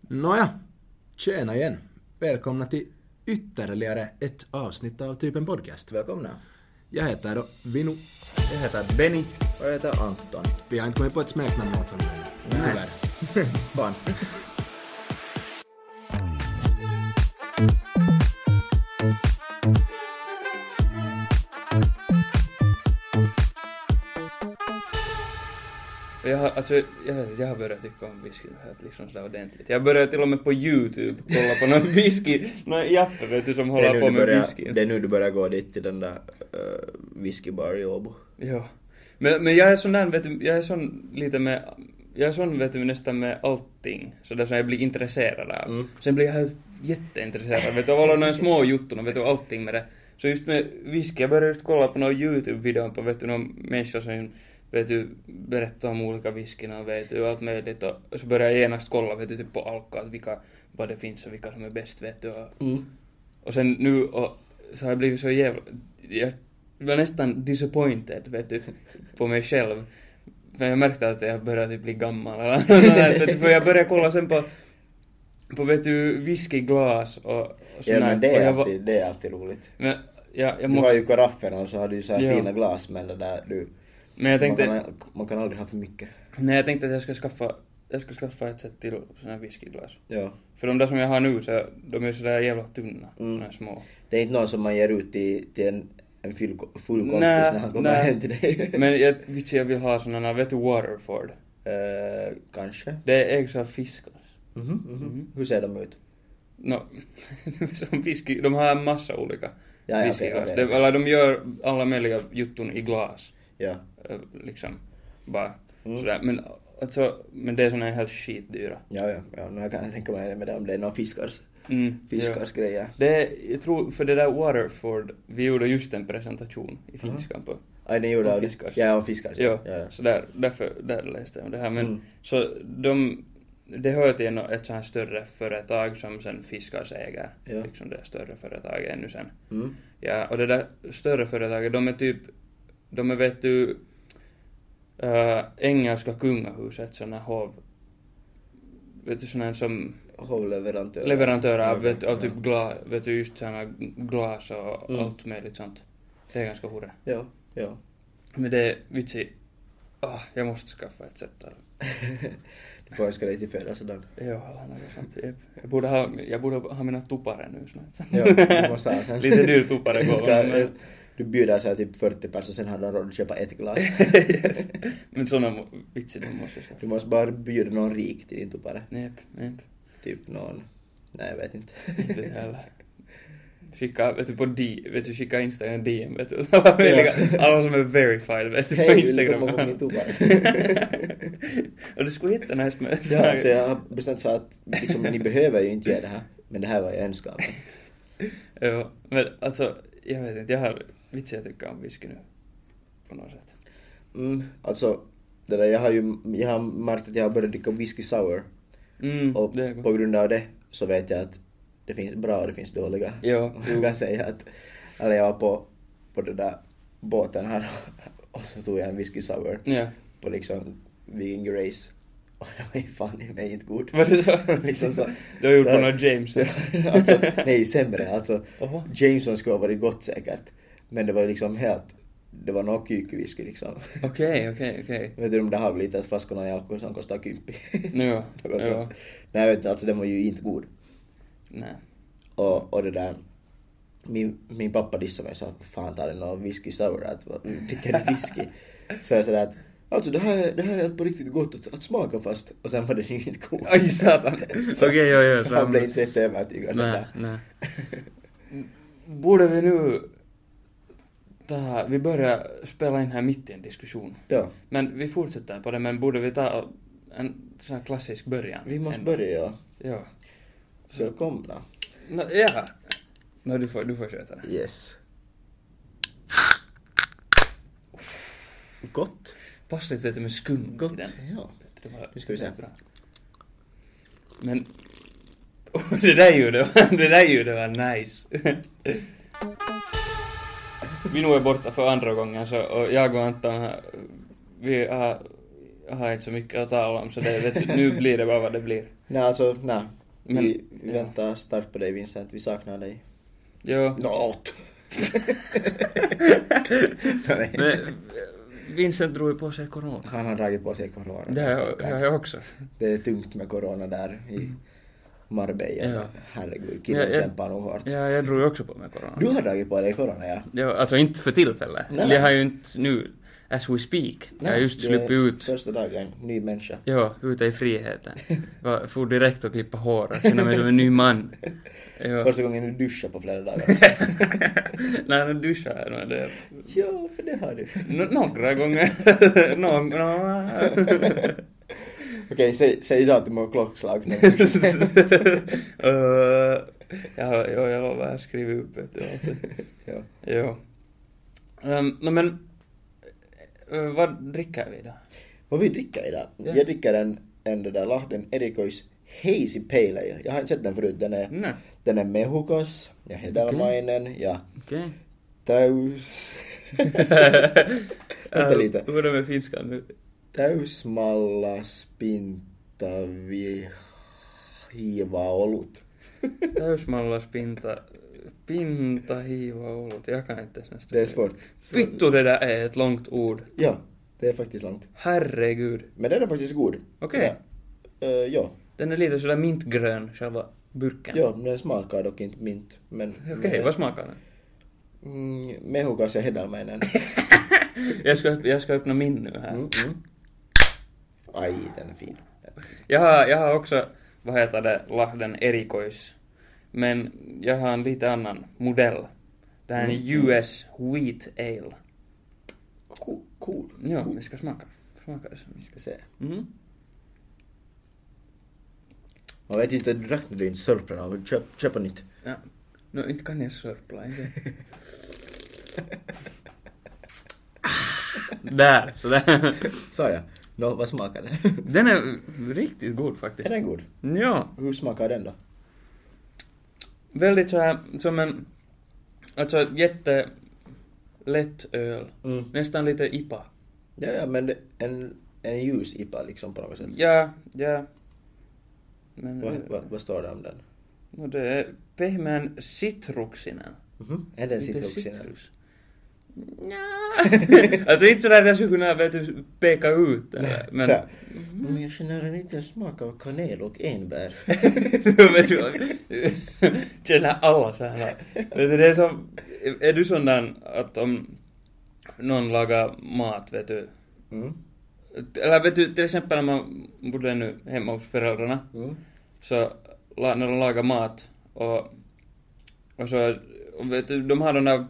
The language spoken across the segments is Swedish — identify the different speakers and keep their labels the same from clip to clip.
Speaker 1: Nåja, tjena igen. Välkomna till ytterligare ett avsnitt av typen podcast.
Speaker 2: Välkomna.
Speaker 1: Jag heter då Vinu.
Speaker 2: Jag heter Benny. Och jag heter Anton.
Speaker 1: Vi har inte kommit på ett smeknamn åt honom ännu.
Speaker 2: Nej.
Speaker 1: Tyvärr.
Speaker 2: Fan.
Speaker 3: Jag har, alltså, jag, vet inte, jag har börjat tycka om whisky nu helt liksom sådär ordentligt. Jag börjar till och med på YouTube kolla på någon whisky, någon jappe vet du som
Speaker 2: Det är,
Speaker 3: håller
Speaker 2: nu
Speaker 3: på
Speaker 2: du
Speaker 3: med
Speaker 2: börjar,
Speaker 3: whisky.
Speaker 2: det är nu du börjar gå dit till den där uh, whiskybar i Åbo.
Speaker 3: Ja. Men, men jag är sån där vet du, jag är sån lite med, jag är sån vet du nästan med allting. Sådär som jag blir intresserad av.
Speaker 2: Mm.
Speaker 3: Sen blir jag helt jätteintresserad vet du, av alla de här små juttorna vet du, och allting med det. Så just med whisky, jag började just kolla på någon YouTube-video på vet du, någon människa som vet du, berättar om olika whiskyna vet du, och allt möjligt. Och så började jag genast kolla vet du, typ på Alka, att vilka, vad det finns och vilka som är bäst vet du. Och, och sen nu och, så har jag blivit så jävla... Jag var nästan disappointed, vet du, på mig själv. För jag märkte att jag började typ bli gammal eller något sånt där, vet du, För jag började kolla sen på, på vet du, whiskyglas och, och
Speaker 2: Ja
Speaker 3: sån här,
Speaker 2: men det
Speaker 3: Alltså, och
Speaker 2: är,
Speaker 3: jag var-
Speaker 2: alltid, det är alltid roligt.
Speaker 3: Men, ja, jag
Speaker 2: Du har
Speaker 3: måste,
Speaker 2: ju karafferna och så har du ju så här
Speaker 3: Ja.
Speaker 2: fina glas men det där du...
Speaker 3: men jag tänkte...
Speaker 2: man, kan, man kan aldrig ha för mycket.
Speaker 3: Nej, jag tänkte att jag ska skaffa, jag ska skaffa ett sätt till såna här whiskyglas.
Speaker 2: Ja.
Speaker 3: För de där som jag har nu, så, de är sådär jävla tunna,
Speaker 2: Mm.
Speaker 3: såna här små.
Speaker 2: Det är inte någon som man ger ut till, till en, en full, full kompis
Speaker 3: Nej,
Speaker 2: när han kommer
Speaker 3: nej.
Speaker 2: hem till dig.
Speaker 3: Men jag, vitsi, jag vill ha såna här, vet du, Waterford.
Speaker 2: Eh, kanske.
Speaker 3: Det ägs av fiskar.
Speaker 2: Mhm, mhm. Hur ser de ut?
Speaker 3: No, de är som whisky, de har en massa olika
Speaker 2: Ja, ja,
Speaker 3: whiskyglas.
Speaker 2: okej, okej.
Speaker 3: De, eller de gör alla möjliga jutton i glas,
Speaker 2: Ja.
Speaker 3: eh, liksom. Bara
Speaker 2: Mm.
Speaker 3: sådär. Men, alltså, men det är såna här helt skitdyra.
Speaker 2: Ja, ja, ja. Nu kan jag tänka mig det med det om det är några fiskars,
Speaker 3: Mm, ja.
Speaker 2: fiskars grejer.
Speaker 3: Det är, jag tror, för det där Waterford, vi gjorde just en presentation i finskan på.
Speaker 2: Aj, ni gjorde
Speaker 3: Om
Speaker 2: av Mm. det?
Speaker 3: fiskars.
Speaker 2: Ja, om fiskars.
Speaker 3: Ja,
Speaker 2: ja, ja.
Speaker 3: så där, därför, där läste jag om det här. Men
Speaker 2: Mm.
Speaker 3: så de, det hör till nå- ett sånt här större företag som sen fiskars äger.
Speaker 2: Ja.
Speaker 3: Liksom det större företaget ännu sen.
Speaker 2: Mm.
Speaker 3: Ja, och det där större företaget, de är typ, de är vet du, äh, engelska kungahuset, såna här hov, vet du såna här som
Speaker 2: Hovleverantör.
Speaker 3: leverantörer av,
Speaker 2: Ja,
Speaker 3: vet, av typ
Speaker 2: ja.
Speaker 3: glas, vet du, just såna här glas och
Speaker 2: Mm.
Speaker 3: allt möjligt sånt. Det är ganska hurra.
Speaker 2: Ja, ja.
Speaker 3: Men det, vitsi, ah, jag måste skaffa ett sätt där.
Speaker 2: Du får önska dig till födelsedagen.
Speaker 3: Joo, eller något sånt. Jep. Jag borde ha, jag borde ha mina tuppare nu snart.
Speaker 2: Ja, du måste ha sen.
Speaker 3: Lite dyr tuppare
Speaker 2: Du ska, eh,
Speaker 3: går
Speaker 2: Du bjuder så här typ 40 personer och sen har de råd att köpa ett glas.
Speaker 3: Men såna må- vitsi, de måste
Speaker 2: Du
Speaker 3: jag skaffa.
Speaker 2: måste bara bjuda någon rik till din tuppare.
Speaker 3: Jep, jep.
Speaker 2: Typ någon... Nej, jag vet inte.
Speaker 3: Inte heller. Skicka, vet du, på D, vet du, skicka Instagram DM, vet du. Alla, möjliga, alla som är verified, vet du, på
Speaker 2: Hej, vill du
Speaker 3: Instagram.
Speaker 2: komma på min tuba?
Speaker 3: och det skulle vara jättenice med så
Speaker 2: Ja,
Speaker 3: här-
Speaker 2: så jag har bestämt så att liksom, ni behöver ju inte göra det här. Men det här var jag önskar mig.
Speaker 3: Jo, men alltså, jag vet inte, jag har, vitsi jag tycker om whisky nu. På något sätt.
Speaker 2: Mm, alltså, det där, jag har ju jag har märkt att jag har börjat dricka whisky sour.
Speaker 3: Mm,
Speaker 2: Och
Speaker 3: det är
Speaker 2: på
Speaker 3: gott.
Speaker 2: grund av det så vet jag att det finns bra och det finns dåliga.
Speaker 3: Ja.
Speaker 2: Jag kan säga att, eller jag var på, på den där båten här och så tog jag en whisky sour
Speaker 3: Ja.
Speaker 2: på liksom Vegan Grace. Och den var ju fan i mig inte god.
Speaker 3: Var det så?
Speaker 2: liksom så.
Speaker 3: Du har gjort
Speaker 2: Så-
Speaker 3: på någon James.
Speaker 2: alltså, nej sämre. Alltså,
Speaker 3: Oho.
Speaker 2: Jameson skulle ha varit gott säkert. Men det var ju liksom helt, det var nog kykywhisky liksom.
Speaker 3: Okej, okej, okej.
Speaker 2: Vet du de där halvlitersflaskorna i alkohol som kostar kympi?
Speaker 3: Ja,
Speaker 2: Något
Speaker 3: ja.
Speaker 2: sånt. Nej vet du, alltså den var ju inte god.
Speaker 3: Nej.
Speaker 2: Och, och det där, min, min pappa dissade mig och sa fan tar du någon whisky sour? Att, vad- dricker du whisky? så jag sådär att alltså det här, är- det här är helt på riktigt gott att, att smaka fast. Och sen var den ju inte god.
Speaker 3: Oj, satan. Okej, ja, ja,
Speaker 2: Så
Speaker 3: samma.
Speaker 2: han blev inte så jätteövertygad.
Speaker 3: Nej, nej. Borde vi nu ta, vi börjar spela in här mitt i en diskussion.
Speaker 2: Ja,
Speaker 3: Men vi fortsätter på det, men borde vi ta en sån här klassisk början?
Speaker 2: vi måste
Speaker 3: ändå?
Speaker 2: börja ja.
Speaker 3: Ja.
Speaker 2: Välkomna.
Speaker 3: Nå, ja. Nå, du får, du får sköta det.
Speaker 2: Yes. Gott.
Speaker 3: Passligt vet du med skum
Speaker 2: Gott,
Speaker 3: till den.
Speaker 2: ja.
Speaker 3: Det var-
Speaker 2: Nu ska vi se.
Speaker 3: Bra. Men... det där ljudet var, det där ljudet var nice. vi nu är borta för andra gången så, och jag och Anton har, vi har, har inte så mycket att tala om så det, vet, du, nu blir det bara vad det blir.
Speaker 2: Nej alltså, nej.
Speaker 3: Men,
Speaker 2: vi, vi väntar starkt på dig Vincent, vi saknar dig.
Speaker 3: Joo.
Speaker 2: Nåt! Nej.
Speaker 3: Men Vincent drog ju på sig corona.
Speaker 2: Han har dragit på sig corona.
Speaker 3: Det har jag, det
Speaker 2: stackarn.
Speaker 3: har jag också.
Speaker 2: Det är tungt med corona där i Marbella.
Speaker 3: Ja.
Speaker 2: Herregud, killen
Speaker 3: Ja, ja.
Speaker 2: kämpar nog hårt.
Speaker 3: Ja, jag drog ju också på mig corona.
Speaker 2: Du har dragit på dig corona ja.
Speaker 3: Ja, alltså inte för tillfället.
Speaker 2: Nej.
Speaker 3: Eller jag har ju inte nu, as we speak. jag har just
Speaker 2: det är
Speaker 3: sluppit ut.
Speaker 2: Första dagen, ny människa.
Speaker 3: Ja, ute i friheten. Jag for direkt och klippa håret, kände mig som en ny man. Ja.
Speaker 2: Första gången du duschar på flera dagar. också.
Speaker 3: Nej, nu duschar jag nog det.
Speaker 2: ja, för det har du.
Speaker 3: Nå- Några gånger. Nå, nå.
Speaker 2: Okej, säg, säg datum och klockslag. när du duschar.
Speaker 3: Öh, ja, ja, jag lovar, jag skriver upp vet du, alltid.
Speaker 2: ja.
Speaker 3: Jo. Um, no, men, eh, vad dricker vi då?
Speaker 2: Vad vi dricker idag?
Speaker 3: Ja.
Speaker 2: Jag dricker en, en det där tota Lahden Erikois Hazy Pale Ale. Jag har inte sett den förut. Den är,
Speaker 3: Nej.
Speaker 2: den är mehukos ja hedelmainen ja
Speaker 3: Okej.
Speaker 2: täys... Vänta
Speaker 3: Äh,
Speaker 2: lite.
Speaker 3: Hur är det med finskan nu?
Speaker 2: Täysmallaspinta vi hiiva olut.
Speaker 3: Täysmallaspinta, pinta, hiiva, olut. Jag kan inte ens nästa.
Speaker 2: Det är svårt.
Speaker 3: Vittu det där är ett långt ord.
Speaker 2: Ja, det är faktiskt långt.
Speaker 3: Herregud.
Speaker 2: Men den är faktiskt god.
Speaker 3: Okej.
Speaker 2: Ja. Eh, ja.
Speaker 3: Den är lite sådär mintgrön, själva burken.
Speaker 2: ja, den smakar dock inte mint. Men...
Speaker 3: Okej, vad smakar den?
Speaker 2: Mm, mehukas ja hedelmäinen.
Speaker 3: Jag ska, öpp- jag ska öppna min nu här.
Speaker 2: Mm, mm. Aj, den är fin.
Speaker 3: Jag, har, jag har också, vad heter det, Lahden erikois. Men jag har en lite annan modell. Det här är
Speaker 2: Mm,
Speaker 3: en US Wheat Ale.
Speaker 2: Cool. cool.
Speaker 3: Ja, vi ska smaka. Smaka det sen.
Speaker 2: Vi ska se.
Speaker 3: Mm.
Speaker 2: Man vet ju inte, du drack när du inte sörplade av. Köp, köpa nytt.
Speaker 3: Ja. No, inte kan jag sörpla, inte. Där, sådär.
Speaker 2: Sa jag? Nå, vad smakar den?
Speaker 3: Den är riktigt god faktiskt.
Speaker 2: är den god?
Speaker 3: Ja,
Speaker 2: Hur smakar den då?
Speaker 3: väldigt såhär som en, alltså jättelätt öl.
Speaker 2: Mm.
Speaker 3: Nästan lite IPA.
Speaker 2: Ja, ja, men det- en, en ljus IPA liksom på något sätt.
Speaker 3: Ja, ja. Men, eh,
Speaker 2: Vad, vad, vad står det om den?
Speaker 3: no, det är pehmeän sitruksinen.
Speaker 2: Mhm. Är den
Speaker 3: Lite
Speaker 2: citrusinen?
Speaker 3: Nja. alltså inte sådär att jag skulle kunna vet du, peka ut det där, men,
Speaker 2: Så här.
Speaker 3: Mhm.
Speaker 2: Men jag känner en liten smak av kanel och enbär.
Speaker 3: men du, känner alla så här. Vet du, det är som, är du sån där att om någon lagar mat, vet du,
Speaker 2: Mm.
Speaker 3: Eller vet du, till exempel när man bodde nu hemma hos föräldrarna,
Speaker 2: Mm.
Speaker 3: så la, när de lagar mat och, och så, och vet du, de har de där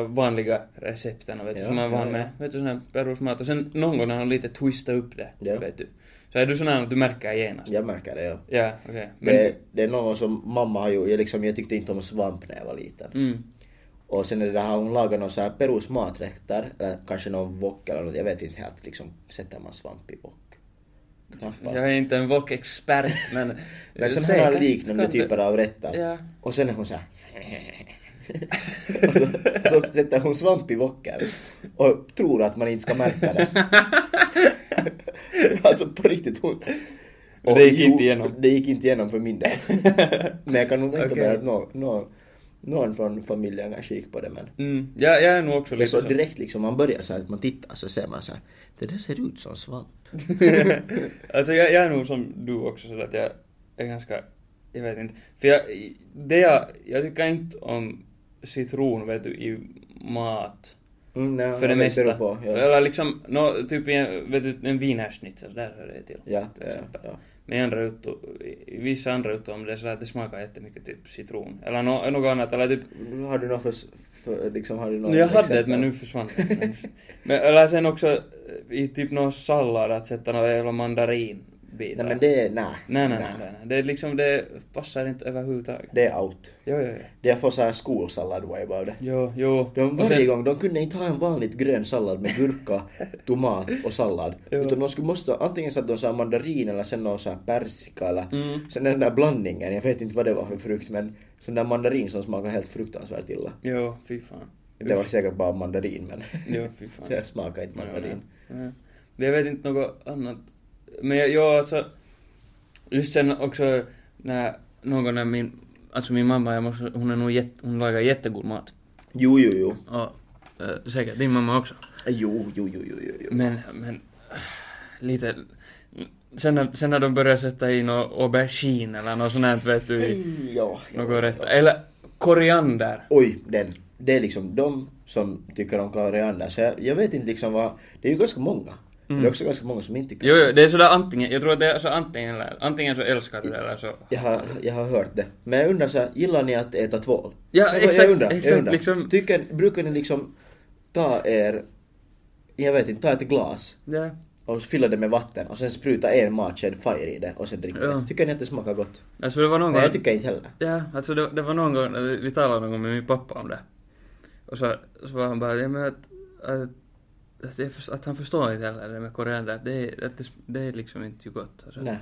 Speaker 3: äh, vanliga recepten, vet du,
Speaker 2: Ja,
Speaker 3: som man är
Speaker 2: ja,
Speaker 3: van
Speaker 2: ja.
Speaker 3: med, vet du, sån här perusmat och sen någon gång har de lite twistat upp det,
Speaker 2: Ja.
Speaker 3: vet du. Så är du sån här att du märker genast?
Speaker 2: Jag märker det, ja.
Speaker 3: Ja, okej. Men,
Speaker 2: Det, det är någon som mamma har gjort. Jag, liksom, jag tyckte inte om svamp när jag var liten.
Speaker 3: mm,
Speaker 2: Och sen är det där, har hon lagat någon så här perusmaträtter, eller kanske någon wok eller något, jag vet inte helt liksom, sätter man svamp i wok?
Speaker 3: jag
Speaker 2: Knappast.
Speaker 3: är inte en wok-expert, men...
Speaker 2: Men sen har
Speaker 3: säkert
Speaker 2: jag liknande
Speaker 3: kan det-
Speaker 2: typer typ av rätter.
Speaker 3: Ja.
Speaker 2: Och sen är hon så här. och, så, och så sätter hon svamp i woken och tror att man inte ska märka det. alltså på riktigt hon...
Speaker 3: Men det gick inte igenom.
Speaker 2: Det gick inte igenom för min del. men jag kan nog tänka
Speaker 3: Okej.
Speaker 2: mig att någon, någon, någon från familjen kanske gick på det men
Speaker 3: Mm, ja, jag är nog också
Speaker 2: det
Speaker 3: lite
Speaker 2: så direkt liksom, man börjar så här, att man tittar så ser man så här, det där ser ut som svamp.
Speaker 3: alltså jag, jag är nog som du också sådär att jag är ganska, jag vet inte. För jag, det jag, jag tycker inte om citron vet du i mat.
Speaker 2: Mm, nej,
Speaker 3: För det
Speaker 2: men
Speaker 3: mesta.
Speaker 2: beror På, ja.
Speaker 3: För, eller liksom, no, typ i en, vet du, en wienerschnitzel, där hör det till.
Speaker 2: Ja,
Speaker 3: till
Speaker 2: ja,
Speaker 3: exempel.
Speaker 2: ja.
Speaker 3: Men i andra utto, i- i vissa andra uttom det är sådär att det smakar jättemycket typ citron. Eller no, något annat, eller typ
Speaker 2: Har du något för, för liksom, har du något
Speaker 3: No, jag hade
Speaker 2: exempel?
Speaker 3: ett men nu försvann det. men, Eller sen också eh, i typ någon sallad att sätta några jävla mandarinbitar.
Speaker 2: Nej men det är, nej.
Speaker 3: Nej, nej, nej, nej, nej. Det är liksom, det passar inte överhuvudtaget.
Speaker 2: Det är out.
Speaker 3: Jo, jo, jo.
Speaker 2: Det får såhär skolsallad vibe av det.
Speaker 3: Jo, jo.
Speaker 2: De
Speaker 3: Och
Speaker 2: varje gång, de kunde inte ha en vanligt grön sallad med gurka, tomat och sallad.
Speaker 3: Ja.
Speaker 2: Utan de skulle måste, antingen satt de såhär mandarin eller sen någon såhär persika eller
Speaker 3: Mm.
Speaker 2: sen den där blandningen, jag vet inte vad det var för frukt men sån där mandarin som smakade helt fruktansvärt illa.
Speaker 3: Jo, fy fan.
Speaker 2: Det var säkert bara mandarin men
Speaker 3: Jo, fy fan.
Speaker 2: det smakade inte
Speaker 3: Ja,
Speaker 2: mandarin.
Speaker 3: ja, ja. Men jag vet inte något annat. Men jag, jag alltså... Just sen också när någon när min, alltså min mamma, jag måste, hon, är nog jätte, hon lagar jättegod mat.
Speaker 2: Jo, jo, jo.
Speaker 3: Och eh, säkert din mamma också.
Speaker 2: Jo, jo, jo, jo, jo. jo.
Speaker 3: Men, men äh, lite... Sen när, sen när de börjar sätta i någon aubergine eller något sånt här, vet du,
Speaker 2: Mm.
Speaker 3: i
Speaker 2: Ja, ja,
Speaker 3: något rätt. Eller koriander.
Speaker 2: Oj, den. Det är liksom de som tycker om koriander. Så jag, jag vet inte liksom vad... Det är ju ganska många. Men Det är också ganska många som inte tycker
Speaker 3: Mm. Jo, jo, det är sådär antingen, jag tror att det är så antingen eller, antingen så älskar du det eller så.
Speaker 2: Jag har, jag har hört det. Men jag undrar så här, gillar ni att äta tvål?
Speaker 3: Ja,
Speaker 2: Men vad-
Speaker 3: exakt, exakt, liksom-
Speaker 2: Tycker, brukar ni liksom ta er, jag vet inte, ta ett glas
Speaker 3: Ja.
Speaker 2: och fylla det med vatten och sen spruta en matsked fire i det och sen dricka
Speaker 3: Ja.
Speaker 2: det? Tycker ni att det smakar gott?
Speaker 3: Alltså det var någon
Speaker 2: Nej, jag
Speaker 3: gång...
Speaker 2: tycker inte heller.
Speaker 3: Ja, alltså det, det var någon gång, när vi, vi talade någon gång med min pappa om det. Och så, så var han bara, ja men att, att, att, jag först, att han förstår inte heller det med koriander, att det, är- att det, det är liksom inte gott. Och så.
Speaker 2: Nej.